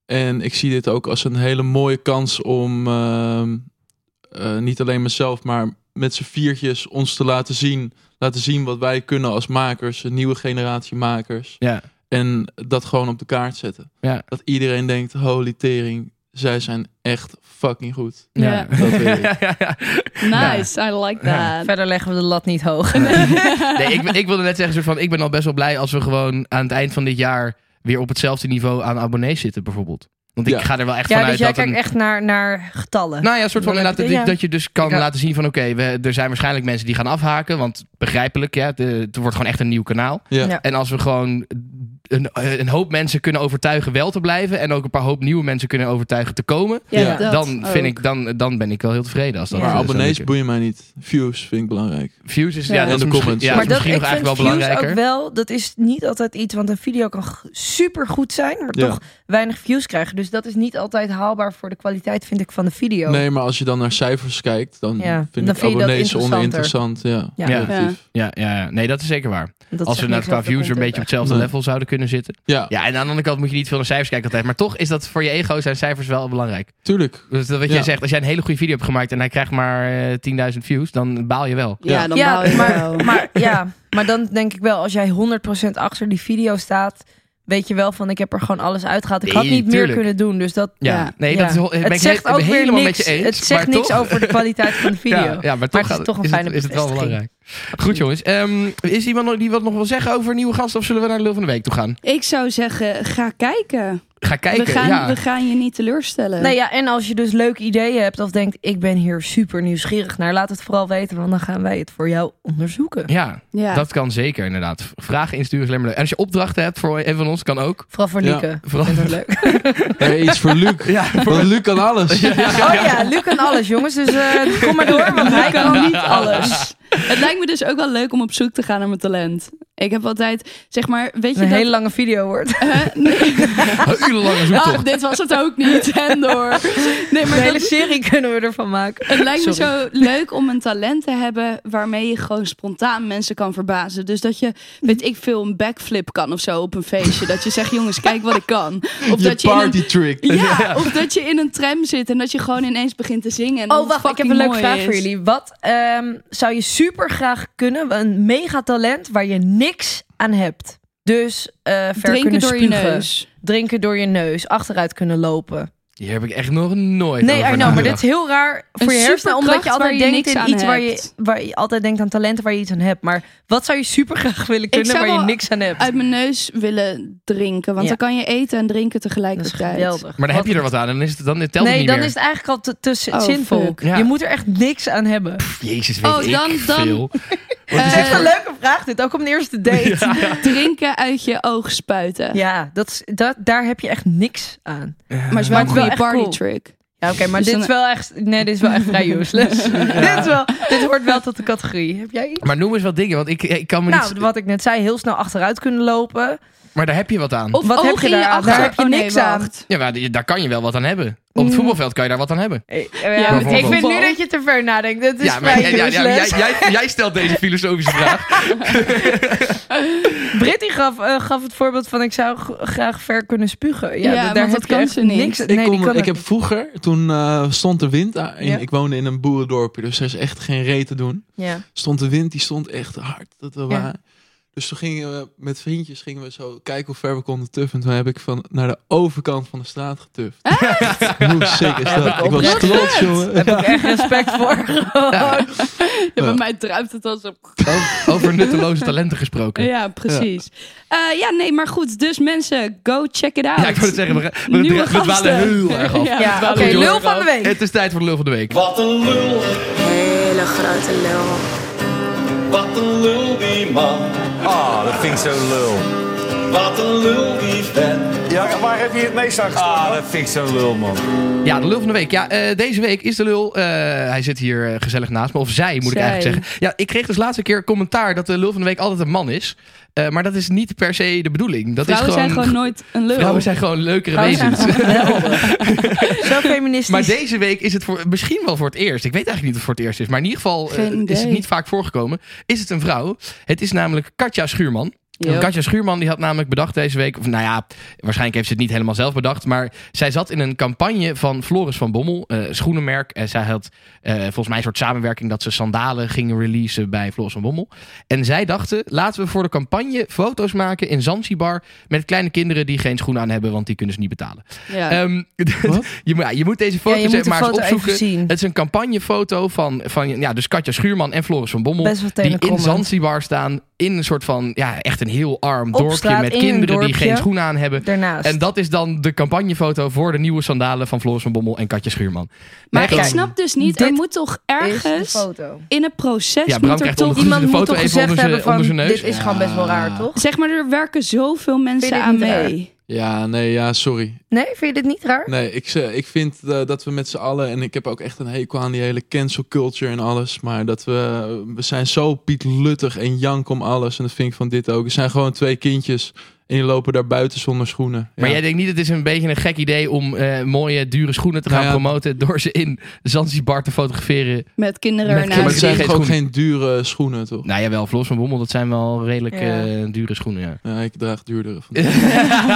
Speaker 6: En ik zie dit ook als een hele mooie kans om ehm, eh, niet alleen mezelf, maar met z'n viertjes ons te laten zien. Laten zien wat wij kunnen als makers, een nieuwe generatie makers.
Speaker 5: ja.
Speaker 6: En dat gewoon op de kaart zetten.
Speaker 5: Ja.
Speaker 6: Dat iedereen denkt, holy tering, zij zijn echt fucking goed.
Speaker 5: Ja.
Speaker 6: Dat weet ik.
Speaker 5: ja, ja.
Speaker 2: Nice, I like
Speaker 5: Ja.
Speaker 2: that.
Speaker 4: Verder leggen we de lat niet hoog.
Speaker 5: Nee, ik, ik wilde net zeggen, soort van, ik ben al best wel blij als we gewoon aan het eind van dit jaar weer op hetzelfde niveau aan abonnees zitten, bijvoorbeeld. Want ik
Speaker 6: Ja.
Speaker 5: ga er wel echt
Speaker 4: Ja,
Speaker 5: vanuit
Speaker 4: dus jij
Speaker 5: dat
Speaker 4: kijkt
Speaker 5: een-
Speaker 4: echt naar, naar getallen.
Speaker 5: Nou ja, soort van
Speaker 4: Dan heb
Speaker 5: inderdaad, dat,
Speaker 4: je-
Speaker 5: ik- dat je dus kan
Speaker 4: Ja.
Speaker 5: laten zien van oké, we- er zijn waarschijnlijk mensen die gaan afhaken, want begrijpelijk, ja, de- het wordt gewoon echt een nieuw kanaal.
Speaker 6: Ja.
Speaker 4: Ja.
Speaker 5: En als we gewoon een, een hoop mensen kunnen overtuigen wel te blijven en ook een paar hoop nieuwe mensen kunnen overtuigen te komen,
Speaker 6: Ja,
Speaker 2: dat
Speaker 5: dan, vind
Speaker 2: ook.
Speaker 5: ik, dan, dan ben ik wel heel tevreden als dat.
Speaker 4: Ja.
Speaker 6: Maar
Speaker 5: eh, zou
Speaker 6: abonnees
Speaker 5: lukken.
Speaker 6: boeien mij niet. Views vind ik belangrijk.
Speaker 5: Views is, ja,
Speaker 4: Ja.
Speaker 5: dat is
Speaker 6: En de
Speaker 5: misschien,
Speaker 6: comments.
Speaker 5: ja,
Speaker 6: Maar
Speaker 5: dat is misschien nog eigenlijk wel
Speaker 4: views
Speaker 5: belangrijker.
Speaker 4: ook wel, dat is niet altijd iets, want een video kan super goed zijn, maar
Speaker 6: Ja.
Speaker 4: toch weinig views krijgen. Dus dat is niet altijd haalbaar voor de kwaliteit, vind ik, van de video.
Speaker 6: Nee, maar als je dan naar cijfers kijkt, dan
Speaker 4: Ja,
Speaker 6: vind
Speaker 4: dan
Speaker 6: ik
Speaker 4: vind je dat
Speaker 6: abonnees oninteressant.
Speaker 4: interessanter.
Speaker 6: Ja,
Speaker 4: Ja.
Speaker 5: Ja.
Speaker 6: relatief.
Speaker 5: Ja, ja, ja, nee, dat is zeker waar.
Speaker 4: Dat
Speaker 5: als we
Speaker 4: zegt
Speaker 5: nou
Speaker 4: niks
Speaker 5: qua
Speaker 4: over de
Speaker 5: views weer een beetje op
Speaker 4: content
Speaker 5: hetzelfde
Speaker 6: Nee.
Speaker 5: level zouden kunnen zitten.
Speaker 6: Ja.
Speaker 5: Ja, en aan de andere kant moet je niet veel naar cijfers kijken altijd. Maar toch is dat voor je ego zijn cijfers wel belangrijk.
Speaker 6: tuurlijk.
Speaker 5: Dus dat wat jij
Speaker 6: Ja.
Speaker 5: zegt, als jij een hele goede video hebt gemaakt en hij krijgt maar eh, 10.000 views, dan baal je wel.
Speaker 2: Ja,
Speaker 6: Ja.
Speaker 2: dan
Speaker 4: ja,
Speaker 2: bouw je wel.
Speaker 4: maar, maar, ja, maar dan denk ik wel, als jij 100% achter die video staat, weet je wel van ik heb er gewoon alles uitgehaald. Ik had
Speaker 5: Nee,
Speaker 4: niet meer
Speaker 5: tuurlijk.
Speaker 4: kunnen doen, dus dat...
Speaker 5: Ja, nee, dat is, eh, ben ik
Speaker 4: het
Speaker 5: he-
Speaker 4: zegt
Speaker 5: ben
Speaker 4: ook weer
Speaker 5: helemaal
Speaker 4: niks.
Speaker 5: met je eens.
Speaker 4: het zegt
Speaker 5: maar
Speaker 4: niks
Speaker 5: toch,
Speaker 4: over de kwaliteit van de video.
Speaker 5: Ja, ja, maar toch,
Speaker 4: het is
Speaker 5: gaat-
Speaker 4: toch een
Speaker 5: is,
Speaker 4: fijne
Speaker 5: het, is het wel
Speaker 4: bevestiging.
Speaker 5: belangrijk. Goed jongens, Ehm, is iemand nog- die wat nog wil zeggen over nieuwe gasten of zullen we naar de lul van de week toe gaan?
Speaker 2: Ik zou zeggen, ga kijken.
Speaker 5: Ga kijken,
Speaker 2: we, gaan,
Speaker 5: ja.
Speaker 2: we gaan je niet teleurstellen.
Speaker 4: Nou ja, en als je dus leuke ideeën hebt of denkt ik ben hier super nieuwsgierig naar, laat het vooral weten, want dan gaan wij het voor jou onderzoeken.
Speaker 5: Ja,
Speaker 2: ja.
Speaker 5: dat kan zeker inderdaad. V- Vragen insturen is alleen maar leuk. En als je opdrachten hebt voor een van ons, kan ook.
Speaker 4: Vooral voor
Speaker 6: Ja.
Speaker 4: Lieke.
Speaker 5: Vooral-
Speaker 4: Vindt dat leuk.
Speaker 6: Nee, iets voor Luc. Want Luc kan alles.
Speaker 4: Oh ja, Luc kan alles jongens, dus eh, kom maar door, want hij kan niet alles.
Speaker 2: Het lijkt me dus ook wel leuk om op zoek te gaan naar mijn talent. Ik heb altijd, zeg maar, weet je
Speaker 4: een
Speaker 2: dat...
Speaker 4: hele lange video wordt.
Speaker 2: Hè? Nee.
Speaker 5: Een urenlange zoektocht.
Speaker 2: Ah, dit was het ook niet. En door. Nee,
Speaker 4: Een
Speaker 2: maar
Speaker 4: hele
Speaker 2: dat-
Speaker 4: serie kunnen we ervan maken.
Speaker 2: het lijkt me zo leuk om een talent te hebben waarmee je gewoon spontaan mensen kan verbazen. Dus dat je, weet ik veel, een backflip kan of zo op een feestje. Dat je zegt, jongens, kijk wat ik kan. Of
Speaker 6: Je
Speaker 2: dat je in een
Speaker 6: party trick.
Speaker 2: ja, of dat je in een tram zit en dat je gewoon ineens begint te zingen. En
Speaker 4: Oh,
Speaker 2: dat
Speaker 4: wacht, ik
Speaker 2: fucking
Speaker 4: heb een leuke
Speaker 2: mooi
Speaker 4: vraag voor
Speaker 2: is.
Speaker 4: jullie. Wat ehm, zou je super graag kunnen? Een mega talent waar je niks aan hebt. Dus eh ver
Speaker 2: Drinken
Speaker 4: kunnen
Speaker 2: door je
Speaker 4: spugen,
Speaker 2: neus.
Speaker 4: Drinken door je neus. Achteruit kunnen lopen.
Speaker 5: Hier heb ik echt nog nooit
Speaker 4: nee,
Speaker 5: over
Speaker 4: I know, maar dit
Speaker 5: nagedacht.
Speaker 4: is heel raar voor
Speaker 2: Een
Speaker 4: je hersenen. Omdat je
Speaker 2: superkracht
Speaker 4: altijd
Speaker 2: waar je
Speaker 4: denkt
Speaker 2: niks
Speaker 4: in
Speaker 2: aan
Speaker 4: iets waar je,
Speaker 2: hebt.
Speaker 4: waar je altijd denkt aan talenten waar je iets aan hebt. Maar wat zou je super graag willen kunnen
Speaker 2: zou
Speaker 4: waar je
Speaker 2: wel
Speaker 4: niks aan hebt?
Speaker 2: Uit mijn neus willen drinken. Want
Speaker 4: Ja.
Speaker 2: dan kan je eten en drinken
Speaker 4: Dat is
Speaker 2: tegelijkertijd.
Speaker 4: geweldig.
Speaker 5: Maar dan heb
Speaker 4: Wat-
Speaker 5: je er wat aan en dan is het, dan telt het
Speaker 4: nee,
Speaker 5: niet
Speaker 4: dan
Speaker 5: meer.
Speaker 4: is het eigenlijk al te, te z-
Speaker 2: Oh,
Speaker 4: zinvol.
Speaker 2: fuck.
Speaker 5: Ja.
Speaker 4: Je moet er echt niks aan hebben.
Speaker 5: Jezus, weet
Speaker 2: Oh,
Speaker 5: ik
Speaker 2: dan- dan-
Speaker 5: veel.
Speaker 2: Eh,
Speaker 4: Het is echt een leuke vraag dit, ook op een eerste date.
Speaker 2: Drinken uit je oog spuiten.
Speaker 4: Ja, dat is, dat, daar heb je echt niks aan.
Speaker 2: Maar het is wel een
Speaker 4: Maar het is wel
Speaker 2: goede
Speaker 4: echt
Speaker 2: party
Speaker 4: cool.
Speaker 2: trick.
Speaker 4: Ja, oké, maar
Speaker 2: Dus
Speaker 4: dit
Speaker 2: dan-
Speaker 4: is wel echt. Nee, dit is wel echt vrij useless. dit, is wel, dit hoort wel tot de categorie. Heb jij iets?
Speaker 5: Maar noem eens wat dingen, want ik, ik kan me
Speaker 4: Nou,
Speaker 5: niet...
Speaker 4: wat ik net zei, heel snel achteruit kunnen lopen.
Speaker 5: Maar daar heb je wat aan.
Speaker 2: Of
Speaker 4: Wat
Speaker 2: oog
Speaker 4: heb je
Speaker 2: in
Speaker 4: daar aan?
Speaker 2: achter.
Speaker 4: Daar heb je
Speaker 2: Oh, nee,
Speaker 4: niks aan.
Speaker 2: wacht.
Speaker 5: Ja, maar die- daar kan je wel wat aan hebben. Op
Speaker 4: Mm.
Speaker 5: het voetbalveld kan je daar wat aan hebben.
Speaker 4: Eh,
Speaker 2: Ja,
Speaker 4: Ja, ik vind nu
Speaker 2: bijvoorbeeld.
Speaker 4: dat je te ver nadenkt.
Speaker 2: Dus
Speaker 4: Dat is
Speaker 5: ja, maar
Speaker 4: vrij
Speaker 5: ja, ja, ja,
Speaker 4: useless.
Speaker 5: jij, jij, jij stelt deze filosofische vraag.
Speaker 4: Britty gaf, eh, gaf het voorbeeld van ik zou g- graag ver kunnen spugen.
Speaker 2: Ja,
Speaker 4: Ja, d-
Speaker 2: want
Speaker 4: daar
Speaker 2: dat
Speaker 4: heb je
Speaker 2: kan
Speaker 4: echt
Speaker 2: ze niet.
Speaker 4: Niks.
Speaker 6: Ik,
Speaker 4: nee,
Speaker 6: kom-
Speaker 4: die kan
Speaker 6: ik heb vroeger, toen eh, stond de wind. aan- in-
Speaker 4: Ja.
Speaker 6: Ik woonde in een boerendorpje, dus er is echt geen reet te doen.
Speaker 4: Ja.
Speaker 6: Stond de wind, die stond echt hard. Dat we
Speaker 4: Ja.
Speaker 6: waren. Dus toen gingen we met vriendjes gingen we zo kijken hoe ver we konden tuffen. En toen heb ik van naar de overkant van de straat getuft. Hoe sick is
Speaker 4: Heb
Speaker 6: dat?
Speaker 4: ik
Speaker 6: Ik was
Speaker 4: oprecht
Speaker 6: trots, jongen.
Speaker 4: Daar heb ik echt respect voor. Gewoon.
Speaker 2: Ja, bij
Speaker 6: Ja.
Speaker 2: mij druipt het als op.
Speaker 5: Over, over nutteloze talenten gesproken. Ja,
Speaker 2: Ja, precies. Eh, ja, nee, maar goed. Dus mensen, go check it out.
Speaker 5: ik wou het zeggen, we, we, we,
Speaker 2: Nieuwe
Speaker 5: we dwalen
Speaker 2: gasten.
Speaker 5: heel erg af.
Speaker 2: Ja,
Speaker 4: Ja,
Speaker 2: we
Speaker 4: oké,
Speaker 2: dwalen heel
Speaker 4: lul
Speaker 2: erg
Speaker 4: van de
Speaker 2: af.
Speaker 4: week.
Speaker 5: Het is tijd voor de lul van de week.
Speaker 8: Wat een lul,
Speaker 7: Hele grote lul.
Speaker 8: wat een lul die man.
Speaker 9: Ah, dat vind ik zo lul.
Speaker 8: Wat een lul die vent.
Speaker 9: Ja, waar heb je het meest aan gestaan? Ah, dat vind ik zo lul, man.
Speaker 5: Ja, de lul van de week. Ja, eh, deze week is de lul. eh, hij zit hier eh, gezellig naast me. Of zij, moet
Speaker 2: Zij.
Speaker 5: ik eigenlijk zeggen. Ja, ik kreeg dus laatste keer commentaar dat de lul van de week altijd een man is. Eh, maar dat is niet per se de bedoeling. Dat
Speaker 2: Vrouwen
Speaker 5: is gewoon,
Speaker 2: zijn gewoon nooit een lul.
Speaker 5: Vrouwen zijn gewoon leukere
Speaker 4: Vrouwen zijn
Speaker 5: wezens.
Speaker 4: Oh, Zo feministisch.
Speaker 5: Maar
Speaker 2: dus-
Speaker 5: deze week is het voor, misschien wel voor het eerst. Ik weet eigenlijk niet of het voor het eerst is. Maar in ieder geval eh,
Speaker 2: Geen idee.
Speaker 5: is het niet vaak voorgekomen. Is het een vrouw? Het is namelijk Katja Schuurman.
Speaker 2: Ja.
Speaker 5: Katja Schuurman die had namelijk bedacht deze week, of nou ja, waarschijnlijk heeft ze het niet helemaal zelf bedacht, maar zij zat in een campagne van Floris van Bommel, eh, schoenenmerk. En zij had eh, volgens mij een soort samenwerking dat ze sandalen gingen releasen bij Floris van Bommel. En zij dachten, laten we voor de campagne foto's maken in Zanzibar met kleine kinderen die geen schoenen aan hebben, want die kunnen ze niet betalen.
Speaker 2: Ja.
Speaker 5: Ehm, je, moet- ja, je moet deze
Speaker 4: Eh, Ja,
Speaker 5: foto's
Speaker 4: je moet
Speaker 5: even
Speaker 4: de
Speaker 5: maar eens
Speaker 4: foto even
Speaker 5: opzoeken.
Speaker 4: zien.
Speaker 5: Het is een campagnefoto van, van ja, dus Katja Schuurman en Floris van Bommel.
Speaker 4: Best wel
Speaker 5: die in
Speaker 4: tenenkrommend.
Speaker 5: Zanzibar staan. In een soort van, ja, echt een heel arm dorpje
Speaker 4: straat,
Speaker 5: met
Speaker 4: in een
Speaker 5: kinderen die
Speaker 4: dorpje.
Speaker 5: geen schoenen aan hebben.
Speaker 4: Daarnaast.
Speaker 5: En dat is dan de campagnefoto voor de nieuwe sandalen van Floris van Bommel en Katja Schuurman.
Speaker 2: maar
Speaker 5: Nee,
Speaker 2: ik
Speaker 5: kijk.
Speaker 2: snap dus niet, er
Speaker 4: Dit
Speaker 2: moet toch
Speaker 4: Is de
Speaker 2: ergens
Speaker 4: foto.
Speaker 2: in het proces
Speaker 5: Ja, Bram
Speaker 2: moet er
Speaker 5: krijgt
Speaker 2: toch...
Speaker 5: ondergoed
Speaker 4: Iemand
Speaker 5: de
Speaker 4: moet
Speaker 5: foto
Speaker 4: toch
Speaker 5: even
Speaker 4: gezegd
Speaker 5: onder zijn,
Speaker 4: hebben van,
Speaker 5: onder zijn neus.
Speaker 4: dit is gewoon best wel raar,
Speaker 5: Ja.
Speaker 4: toch?
Speaker 2: Zeg maar, er werken zoveel
Speaker 4: Vind je
Speaker 2: mensen
Speaker 4: dit
Speaker 2: aan
Speaker 4: niet raar?
Speaker 2: mee.
Speaker 6: Ja, nee, ja, sorry.
Speaker 4: Nee, vind je dit niet raar?
Speaker 6: Nee, ik, ze- ik vind eh, dat we met z'n allen, en ik heb ook echt een hekel aan die hele cancel culture en alles, maar dat we, we zijn zo Piet Luttig en jank om alles. En dat vind ik van dit ook. Er zijn gewoon twee kindjes en die lopen daar buiten zonder schoenen.
Speaker 5: Maar
Speaker 6: Ja.
Speaker 5: jij denkt niet, het is een beetje een gek idee om eh, mooie, dure schoenen te gaan
Speaker 6: Nou ja.
Speaker 5: promoten door ze in Zanzibar te fotograferen.
Speaker 2: Met kinderen
Speaker 5: Met
Speaker 6: ja, maar
Speaker 2: ernaast.
Speaker 5: kinderen.
Speaker 6: het zijn
Speaker 5: Geen
Speaker 6: toch ook
Speaker 5: schoenen.
Speaker 6: geen dure schoenen, toch?
Speaker 5: Nou jawel, Floris van Bommel, dat zijn wel redelijk
Speaker 4: Ja.
Speaker 5: eh, dure schoenen, ja.
Speaker 6: Ja, ik draag duurdere van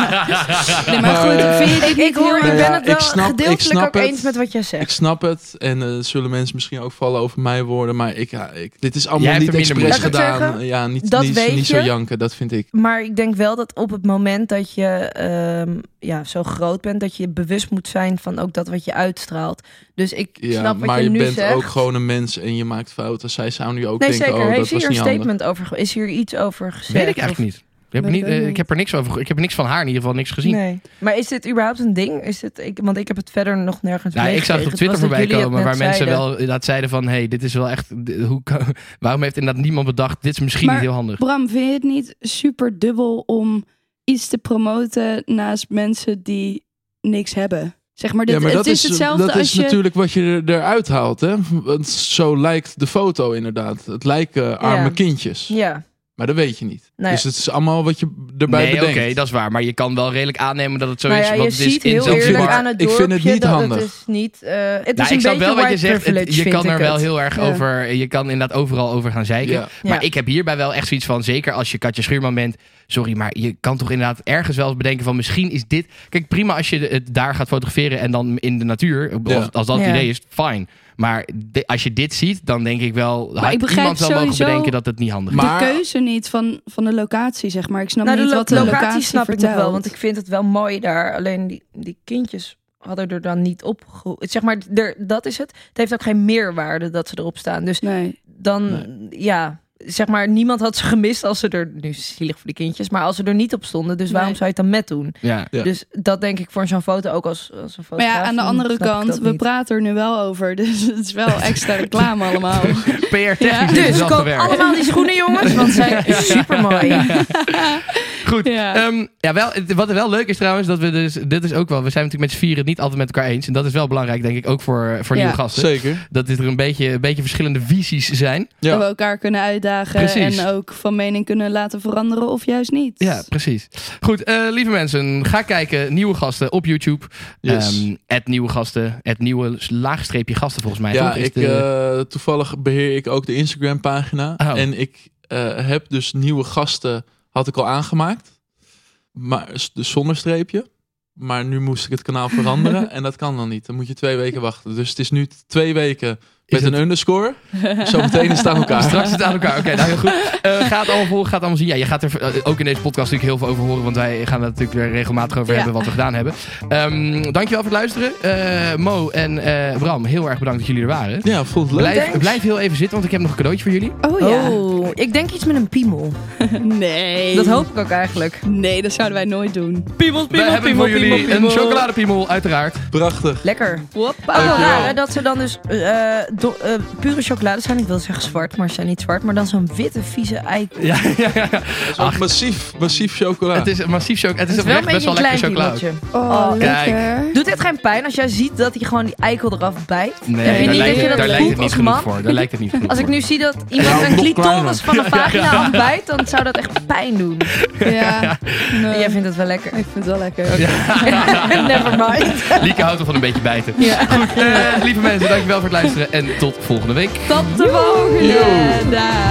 Speaker 2: Nee, maar
Speaker 6: Maar,
Speaker 2: goed,
Speaker 6: eh,
Speaker 2: vind je dit
Speaker 4: Ik,
Speaker 2: niet
Speaker 4: ik hoor, ik
Speaker 2: heel
Speaker 6: Nou
Speaker 4: ben
Speaker 6: ja,
Speaker 4: het wel
Speaker 6: ik snap- ik
Speaker 4: gedeeltelijk
Speaker 6: snap
Speaker 4: ook
Speaker 6: het.
Speaker 4: eens met wat jij
Speaker 6: Ik
Speaker 4: zegt.
Speaker 6: snap het. En eh, zullen mensen misschien ook vallen over mijn woorden. Maar ik, ja, ik, dit is allemaal
Speaker 5: Jij hebt
Speaker 6: niet
Speaker 5: er minder
Speaker 6: expres
Speaker 4: moeite mee. Laat ik het
Speaker 6: gedaan. Ja, niet,
Speaker 4: dat
Speaker 6: niet,
Speaker 4: weet
Speaker 6: niet zo
Speaker 4: je.
Speaker 6: janken. Dat vind ik.
Speaker 4: Maar ik denk wel dat op het moment dat je ehm, ja, zo groot bent, dat je bewust moet zijn van ook dat wat je uitstraalt. Dus ik
Speaker 6: Ja,
Speaker 4: snap wat
Speaker 6: maar
Speaker 4: je
Speaker 6: je,
Speaker 4: nu
Speaker 6: bent
Speaker 4: zegt.
Speaker 6: ook gewoon een mens en je maakt fouten. Zij zou nu ook
Speaker 4: nee,
Speaker 6: denken,
Speaker 4: zeker.
Speaker 6: oh, dat
Speaker 4: Heeft
Speaker 6: was
Speaker 4: hier een
Speaker 6: niet handig.
Speaker 4: statement over ge- Is hier iets over gezegd?
Speaker 5: Weet ik eigenlijk niet. Ik heb,
Speaker 2: Weet
Speaker 5: niet,
Speaker 2: ik ook
Speaker 5: eh, ik
Speaker 2: niet.
Speaker 5: heb er niks over. ge- Ik heb niks van haar in ieder geval niks gezien.
Speaker 4: Nee. Maar is dit überhaupt een ding? Is dit, ik, want ik heb het verder nog nergens
Speaker 5: Nou, ik zag het op Twitter voorbij komen waar mensen wel inderdaad zeiden van... hey, dit is wel echt... d- Hoe kan, waarom heeft inderdaad niemand bedacht... dit is misschien
Speaker 2: Maar-
Speaker 5: niet heel handig.
Speaker 2: Bram, vind je het niet super dubbel om iets te promoten naast mensen die niks hebben? Zeg maar, dit,
Speaker 6: ja, maar
Speaker 2: het
Speaker 6: dat
Speaker 2: is, hetzelfde
Speaker 6: dat
Speaker 2: als
Speaker 6: is
Speaker 2: je...
Speaker 6: natuurlijk wat je er, eruit haalt. Hè? Want zo lijkt de foto inderdaad. Het lijken arme
Speaker 4: Ja.
Speaker 6: kindjes.
Speaker 4: Ja.
Speaker 6: Maar Maar dat weet je niet.
Speaker 4: Nou ja.
Speaker 6: Dus het is allemaal wat je erbij
Speaker 5: nee, oké,
Speaker 6: bedenkt.
Speaker 5: dat is waar. Maar je kan wel redelijk aannemen dat het zo
Speaker 4: Nou
Speaker 5: is.
Speaker 4: ja, je
Speaker 5: want het is
Speaker 4: ziet
Speaker 5: in
Speaker 4: heel
Speaker 5: Zanzibar-
Speaker 4: eerlijk aan het
Speaker 6: Ik
Speaker 4: dorpje
Speaker 6: vind het niet
Speaker 4: dat
Speaker 6: handig.
Speaker 4: het is niet... eh, het
Speaker 5: Nou,
Speaker 4: is
Speaker 5: ik
Speaker 4: een
Speaker 5: snap
Speaker 4: beetje
Speaker 5: wel wat je
Speaker 4: white
Speaker 5: zegt. Het-
Speaker 4: privilege,
Speaker 5: je
Speaker 4: vind
Speaker 5: kan
Speaker 4: ik
Speaker 5: er wel
Speaker 4: het.
Speaker 5: heel erg
Speaker 4: Ja.
Speaker 5: over. Je kan inderdaad overal over gaan zeiken.
Speaker 6: Ja.
Speaker 4: Ja.
Speaker 5: Maar ik heb hierbij wel echt zoiets van. Zeker als je Katja Schuurman bent. Sorry, maar je kan toch inderdaad ergens wel eens bedenken van. Misschien is dit. Kijk, prima als je de- het daar gaat fotograferen en dan in de natuur.
Speaker 6: Ja.
Speaker 5: Als, als dat het
Speaker 4: Ja.
Speaker 5: idee is, fijn. Maar de- als je dit ziet, dan denk ik wel. had
Speaker 2: ik begrijp
Speaker 5: iemand wel mogen
Speaker 2: sowieso-
Speaker 5: bedenken dat het niet handig is.
Speaker 6: Maar-
Speaker 2: de keuze niet van, van de locatie, zeg maar. Ik snap
Speaker 4: Nou, de
Speaker 2: niet
Speaker 4: lo-
Speaker 2: wat de locatie,
Speaker 4: locatie snap ik
Speaker 2: vertelt.
Speaker 4: nog wel, want ik vind het wel mooi daar. Alleen die, die kindjes hadden er dan niet op... ge- Zeg maar, er, dat is het. Het heeft ook geen meerwaarde dat ze erop staan. Dus
Speaker 2: Nee.
Speaker 4: dan, ja, zeg maar, niemand had ze gemist als ze er... Nu is het zielig voor de kindjes, maar als ze er niet op stonden. Dus waarom
Speaker 2: Nee.
Speaker 4: zou je het dan met doen?
Speaker 5: ja.
Speaker 6: Ja.
Speaker 4: Dus dat denk ik voor zo'n foto ook als, als een foto.
Speaker 2: Maar ja, aan de andere kant, we praten er nu wel over. Dus het is wel extra reclame allemaal.
Speaker 5: PR-technisch
Speaker 2: Ja.
Speaker 5: is het
Speaker 4: Dus
Speaker 5: wel
Speaker 4: koop
Speaker 5: gewerkt.
Speaker 4: allemaal die schoenen, jongens, want ze zijn super mooi.
Speaker 5: Goed.
Speaker 2: Ja.
Speaker 5: Ja. Ehm, ja, wel, het- wat wel leuk is trouwens, dat we dus, dit is ook wel, we zijn natuurlijk met z'n vieren het niet altijd met elkaar eens. En dat is wel belangrijk, denk ik, ook voor, voor
Speaker 2: Ja.
Speaker 5: nieuwe gasten.
Speaker 6: Zeker.
Speaker 5: Dat dit er een beetje, een beetje verschillende visies zijn.
Speaker 6: Ja.
Speaker 2: Dat we elkaar kunnen uitdagen
Speaker 5: Precies.
Speaker 2: en ook van mening kunnen laten veranderen of juist niet.
Speaker 5: Ja, precies. Goed, eh, lieve mensen, ga kijken. Nieuwe gasten op YouTube.
Speaker 6: Yes.
Speaker 5: Ehm, Het nieuwe gasten. Het nieuwe laagstreepje gasten, volgens mij.
Speaker 6: Ja,
Speaker 5: toch? Is
Speaker 6: ik,
Speaker 5: de-
Speaker 6: eh, toevallig beheer ik ook de Instagram pagina.
Speaker 5: Oh.
Speaker 6: En ik eh, heb dus nieuwe gasten, had ik al aangemaakt. Maar dus zonder streepje. Maar nu moest ik het kanaal veranderen. en dat kan dan niet. Dan moet je twee weken wachten. Dus het is nu twee weken met
Speaker 5: het-
Speaker 6: een underscore. Zometeen is het aan elkaar.
Speaker 5: Straks het aan elkaar. Oké, nou heel goed. Eh ga het allemaal volgen, ga het allemaal zien. Ja, je gaat er eh, ook in deze podcast natuurlijk heel veel over horen. Want wij gaan er natuurlijk weer regelmatig over
Speaker 2: Ja.
Speaker 5: hebben wat we gedaan hebben. Ehm, dankjewel voor het luisteren. Eh, Mo en eh, Bram, heel erg bedankt dat jullie er waren.
Speaker 6: Ja, voelt leuk.
Speaker 5: Blijf,
Speaker 4: Thanks.
Speaker 5: blijf heel even zitten, want ik heb nog een cadeautje voor jullie.
Speaker 2: Oh ja.
Speaker 4: Oh, ik denk iets met een piemel.
Speaker 2: Nee.
Speaker 4: Dat hoop ik ook eigenlijk.
Speaker 2: Nee, dat zouden wij nooit doen.
Speaker 4: Piemels,
Speaker 5: We hebben voor jullie een chocoladepiemel, uiteraard.
Speaker 6: Prachtig.
Speaker 4: Lekker.
Speaker 2: Hoppa.
Speaker 4: Ook wel Oh, raar hè, dat ze dan dus eh, eh, do- eh, pure chocolade zijn. Ik wil zeggen zwart, maar ze zijn niet zwart. Maar dan zo'n witte, vieze ei.
Speaker 5: Ja, ja, ja.
Speaker 6: Dat is ook
Speaker 5: Ach.
Speaker 6: massief, massief chocola.
Speaker 5: Het is een massief chocolade. Het
Speaker 4: Het
Speaker 5: is
Speaker 4: is wel
Speaker 5: oprecht
Speaker 4: een
Speaker 5: best
Speaker 4: beetje
Speaker 5: wel
Speaker 4: een
Speaker 5: lekker
Speaker 4: klein
Speaker 5: chocolade.
Speaker 2: Oh,
Speaker 4: piemeltje. Oh,
Speaker 5: kijk.
Speaker 2: lekker.
Speaker 4: Doet dit geen pijn als jij ziet dat hij gewoon die eikel eraf bijt?
Speaker 5: Nee,
Speaker 4: Heb je
Speaker 5: daar
Speaker 4: niet
Speaker 5: lijkt,
Speaker 4: dat je dat
Speaker 5: daar lijkt het
Speaker 4: voelt
Speaker 5: niet
Speaker 4: als
Speaker 5: genoeg
Speaker 4: man?
Speaker 5: voor. Daar lijkt het niet genoeg
Speaker 4: Als ik
Speaker 5: voor.
Speaker 4: nu zie dat iemand een clitoris van de vagina afbijt, dan zou dat echt pijn doen.
Speaker 2: Ja.
Speaker 5: Eh.
Speaker 2: Nee.
Speaker 4: Jij vindt het wel lekker.
Speaker 2: Ik vind het wel lekker.
Speaker 4: Never mind.
Speaker 5: Lieke houdt er van een beetje bijten. Goed, eh, lieve mensen, dankjewel voor het luisteren. En tot volgende week.
Speaker 2: Tot de volgende. Daag.